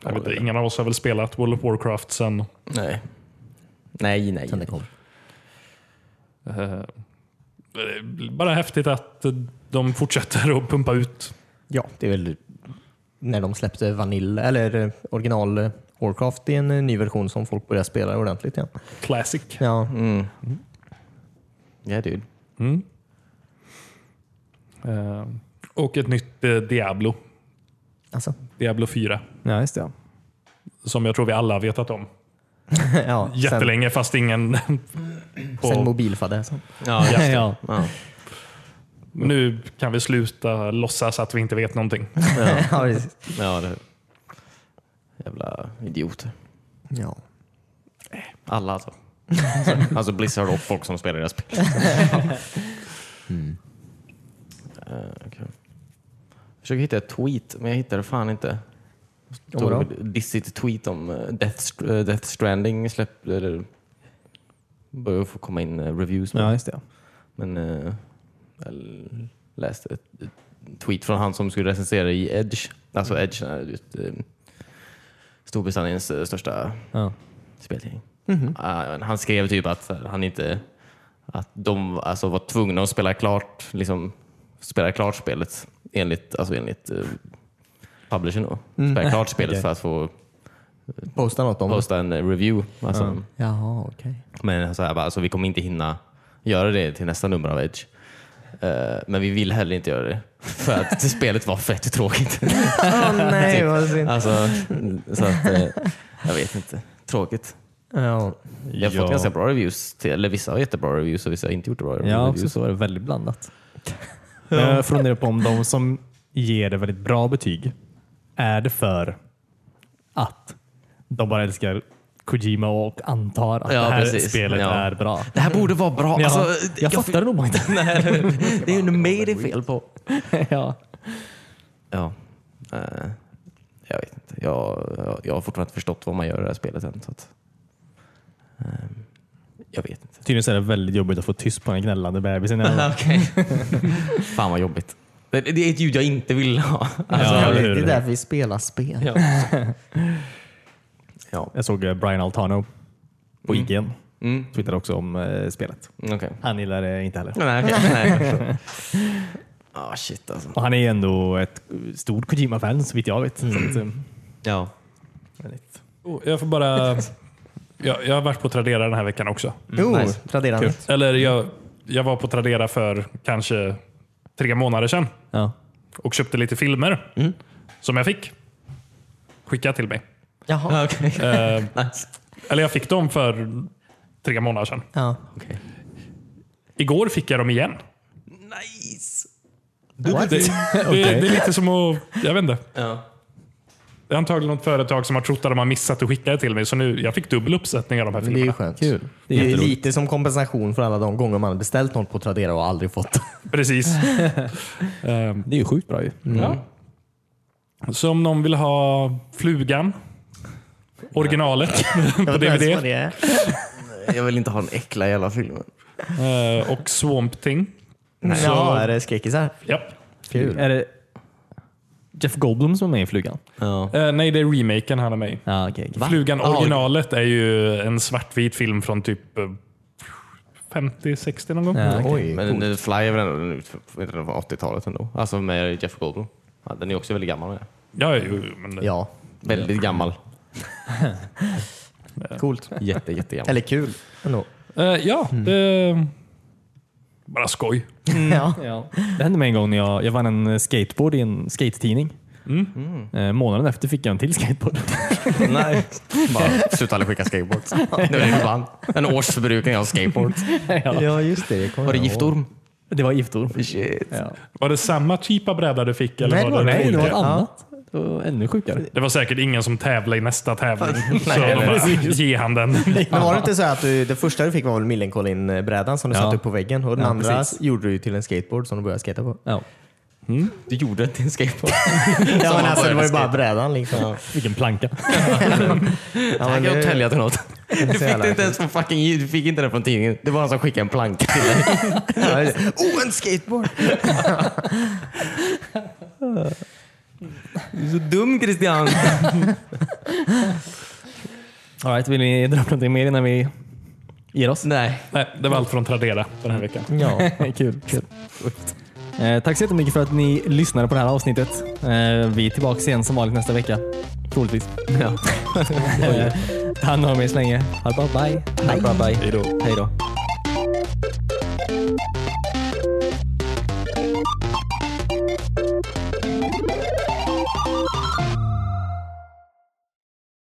Speaker 3: Jag vet, inte, ingen av oss har väl spelat World of Warcraft sen...
Speaker 2: Nej. Nej, nej.
Speaker 1: Sen det kom.
Speaker 3: eh, bara häftigt att eh, de fortsätter att pumpa ut.
Speaker 1: Ja, det är väl när de släppte Vanilla, eller eh, original eh, Warcraft i en eh, ny version som folk börjar spela ordentligt igen.
Speaker 3: Classic.
Speaker 1: Ja,
Speaker 2: Mm. Yeah dude.
Speaker 3: Mm. Eh, och ett nytt eh, Diablo.
Speaker 1: alltså.
Speaker 3: Diablo 4.
Speaker 4: Ja, just det. ja.
Speaker 3: Som jag tror vi alla har vetat om.
Speaker 1: ja,
Speaker 3: Jättelänge fast ingen...
Speaker 1: Sen, sen
Speaker 3: på,
Speaker 1: mobilfadäsen.
Speaker 2: Ja, just det.
Speaker 4: Ja.
Speaker 2: Ja.
Speaker 3: nu kan vi sluta låtsas att vi inte vet någonting.
Speaker 1: ja, precis.
Speaker 2: ja det Jävla idioter.
Speaker 1: ja.
Speaker 2: Alla alltså. Så, alltså Blizzard och folk som spelar deras spel. Mm. Eh, okej. Jag försöker hitta ett tweet, men jag hittar det fan inte. Det
Speaker 1: Om vadå?
Speaker 2: stod ett dissigt tweet om eh, Death, Str- eh, Death Stranding släpp, eller, började få komma in eh, reviews. på.
Speaker 4: Ja, just det.
Speaker 2: Men eh, jag läste ett ett tweet från han som skulle recensera i Edge. Alltså Edge är just, eh, Storbritanniens eh, största
Speaker 4: Ja.
Speaker 2: speltidning. Ah, han skrev typ att så här, han inte att de alltså, var tvungna att spela klart, liksom, spela klart spelet enligt, alltså, enligt eh, publishern. Då. Spela klart spelet
Speaker 4: Okej.
Speaker 2: för att få
Speaker 1: Posta något om det.
Speaker 2: posta en eh, review. Alltså,
Speaker 1: Jaha, okej.
Speaker 2: men så här, bara, alltså, vi kommer inte hinna göra det till nästa nummer av Edge. Eh, men vi vill heller inte göra det. För att spelet var fett tråkigt.
Speaker 1: Åh nej,
Speaker 2: Typ.
Speaker 1: vad synd.
Speaker 2: alltså, så att, eh, jag vet inte. Tråkigt.
Speaker 1: Ja. alltså,
Speaker 2: Jag har fått ganska bra reviews. Till, eller vissa har jättebra reviews och vissa har inte gjort bra
Speaker 4: Ja, också
Speaker 2: reviews.
Speaker 4: så är det väldigt blandat. Men jag funderar på om de som ger det väldigt bra betyg, är det för att de bara älskar Kojima och antar att
Speaker 2: Ja,
Speaker 4: det här
Speaker 2: precis.
Speaker 4: spelet
Speaker 2: Ja.
Speaker 4: är bra?
Speaker 2: Det här borde vara bra.
Speaker 4: Ja,
Speaker 2: Alltså,
Speaker 4: jag fattar det nog bara inte.
Speaker 2: Nej, det är ju mig det är fel på.
Speaker 4: ja.
Speaker 2: Ja. Eh, jag vet inte. Jag, jag, jag har fortfarande inte förstått vad man gör i det här spelet än. Så att, ehm, jag vet inte.
Speaker 4: Tydligen så är det väldigt jobbigt att få tyst på den gnällande bebisen. Ja.
Speaker 2: Fan vad jobbigt. Det, det är ett ljud jag inte vill ha.
Speaker 1: Alltså, jag
Speaker 4: Ja, eller
Speaker 1: vet,
Speaker 4: hur?
Speaker 1: det är därför vi spelar spel.
Speaker 2: Ja. ja.
Speaker 4: Jag såg eh, Brian Altano på
Speaker 2: Mm.
Speaker 4: IGN.
Speaker 2: Mm.
Speaker 4: Twittrade också om eh, spelet.
Speaker 2: Okej.
Speaker 4: Han gillar det inte heller.
Speaker 2: Nej, okej. Nej. Ah, shit alltså.
Speaker 4: Och han är ju ändå ett stort Kojima-fan så vitt jag vet. Så att, eh,
Speaker 2: Ja.
Speaker 4: väldigt-
Speaker 3: Oh, Jag får bara... Jag, jag har varit på Tradera den här veckan också.
Speaker 1: Jo, Tradera
Speaker 4: Kul.
Speaker 1: nytt.
Speaker 3: Eller jag, jag var på Tradera för kanske tre månader sedan
Speaker 4: ja.
Speaker 3: och köpte lite filmer som jag fick skickat till mig.
Speaker 1: Jaha.
Speaker 2: Okej.
Speaker 3: Eh,
Speaker 2: Nice.
Speaker 3: eller jag fick dem för tre månader sedan.
Speaker 1: Ja.
Speaker 3: Igår fick jag dem igen.
Speaker 2: nice.
Speaker 1: What?
Speaker 3: Det, det, det är lite som att... Jag vet inte.
Speaker 2: Ja.
Speaker 3: Det är antagligen något företag som har trott att de har missat att skicka det till mig. Så nu, jag fick dubbel uppsättning av de här
Speaker 1: Det är ju
Speaker 3: filmerna.
Speaker 1: skönt.
Speaker 4: Kul.
Speaker 1: Det är ju lite som kompensation för alla de gånger man beställt något på Tradera och aldrig fått.
Speaker 3: Precis. Ehm,
Speaker 4: Det är ju sjukt bra ju.
Speaker 3: Ja. Så om någon vill ha Flugan, originalet på DVD
Speaker 1: det.
Speaker 2: Jag vill inte ha en äckla i alla filmen.
Speaker 3: eh, och Swamp Thing.
Speaker 1: Ja, är det skräckisar?
Speaker 3: Japp.
Speaker 1: Kul.
Speaker 4: Är det Jeff Goldblum som är med i Flugan?
Speaker 2: Ja.
Speaker 3: Eh, nej, det är remaken han är med i.
Speaker 4: Ja, okej. Okay.
Speaker 3: Flugan
Speaker 2: Ah,
Speaker 3: originalet är ju en svartvit film från typ eh, 50-60 någon gång.
Speaker 4: Ja, okej.
Speaker 1: Oj,
Speaker 2: Men
Speaker 1: coolt.
Speaker 2: den- Fly är väl ändå den är ut från inte den från 80-talet ändå? Alltså med Jeff Goldblum. Ja, den är också väldigt gammal. Ja.
Speaker 3: Ja, jo, jo, men,
Speaker 1: Ja,
Speaker 2: Väldigt gammal.
Speaker 1: coolt.
Speaker 2: Jätte, jättegammal.
Speaker 1: Eller kul ändå.
Speaker 3: Eh, ja
Speaker 1: Mm.
Speaker 3: det, bara skoj.
Speaker 1: Ja.
Speaker 4: Ja. Det hände mig en gång när jag, jag vann en skateboard i en skatetidning. Eh, månaden efter fick jag en till skateboard.
Speaker 2: Nej. Bara, sluta aldrig skicka skateboards. Det var det du vann. En årsförbrukning av skateboards.
Speaker 1: ja, just det. det kommer
Speaker 2: Var det
Speaker 1: jag ihåg.
Speaker 2: giftorm?
Speaker 4: Det var giftor.
Speaker 2: Shit.
Speaker 4: Ja.
Speaker 3: Var det samma typ av bräda du fick? Eller
Speaker 1: Nej, det var det.
Speaker 4: Nej, det var ett
Speaker 1: Ja.
Speaker 4: annat. Det var ännu sjukare.
Speaker 3: det var säkert ingen som tävlade i nästa tävling. så
Speaker 2: Nej,
Speaker 3: de bara, ge han den.
Speaker 1: Men var det inte så att du, det första du fick var väl Millencolin-brädan som du
Speaker 4: Ja.
Speaker 1: satte upp på väggen och den
Speaker 4: Ja,
Speaker 1: andra
Speaker 4: precis.
Speaker 1: gjorde du till en skateboard som du började skata på?
Speaker 4: Ja. Mm.
Speaker 2: Du gjorde inte en skateboard.
Speaker 1: Ja, men alltså, det var ju bara
Speaker 2: skate.
Speaker 1: brädan liksom.
Speaker 4: Vilken planka.
Speaker 1: Ja,
Speaker 2: Här
Speaker 1: men
Speaker 2: kan jag
Speaker 1: nu-
Speaker 2: tälja till något. Du
Speaker 1: Så
Speaker 2: fick
Speaker 1: jävla
Speaker 2: det inte ens från fucking du fick inte den från tidningen. Det var han som skickade en planka till dig.
Speaker 1: Ja, just det. oh, en skateboard!
Speaker 2: Du är så dum Christian.
Speaker 4: All right, vill ni dra upp någonting mer innan vi ger oss?
Speaker 2: Nej.
Speaker 3: Nej, det var allt från Tradera den här veckan.
Speaker 1: Ja.
Speaker 4: Kul. Kul. Eh, tack så jättemycket för att ni lyssnade på det här avsnittet. Eh, vi är tillbaka igen som vanligt nästa vecka. Troligtvis.
Speaker 2: Ja.
Speaker 4: Eh, Ta hand om er så länge. Ha det bra. Bye. Hej då. Hej då.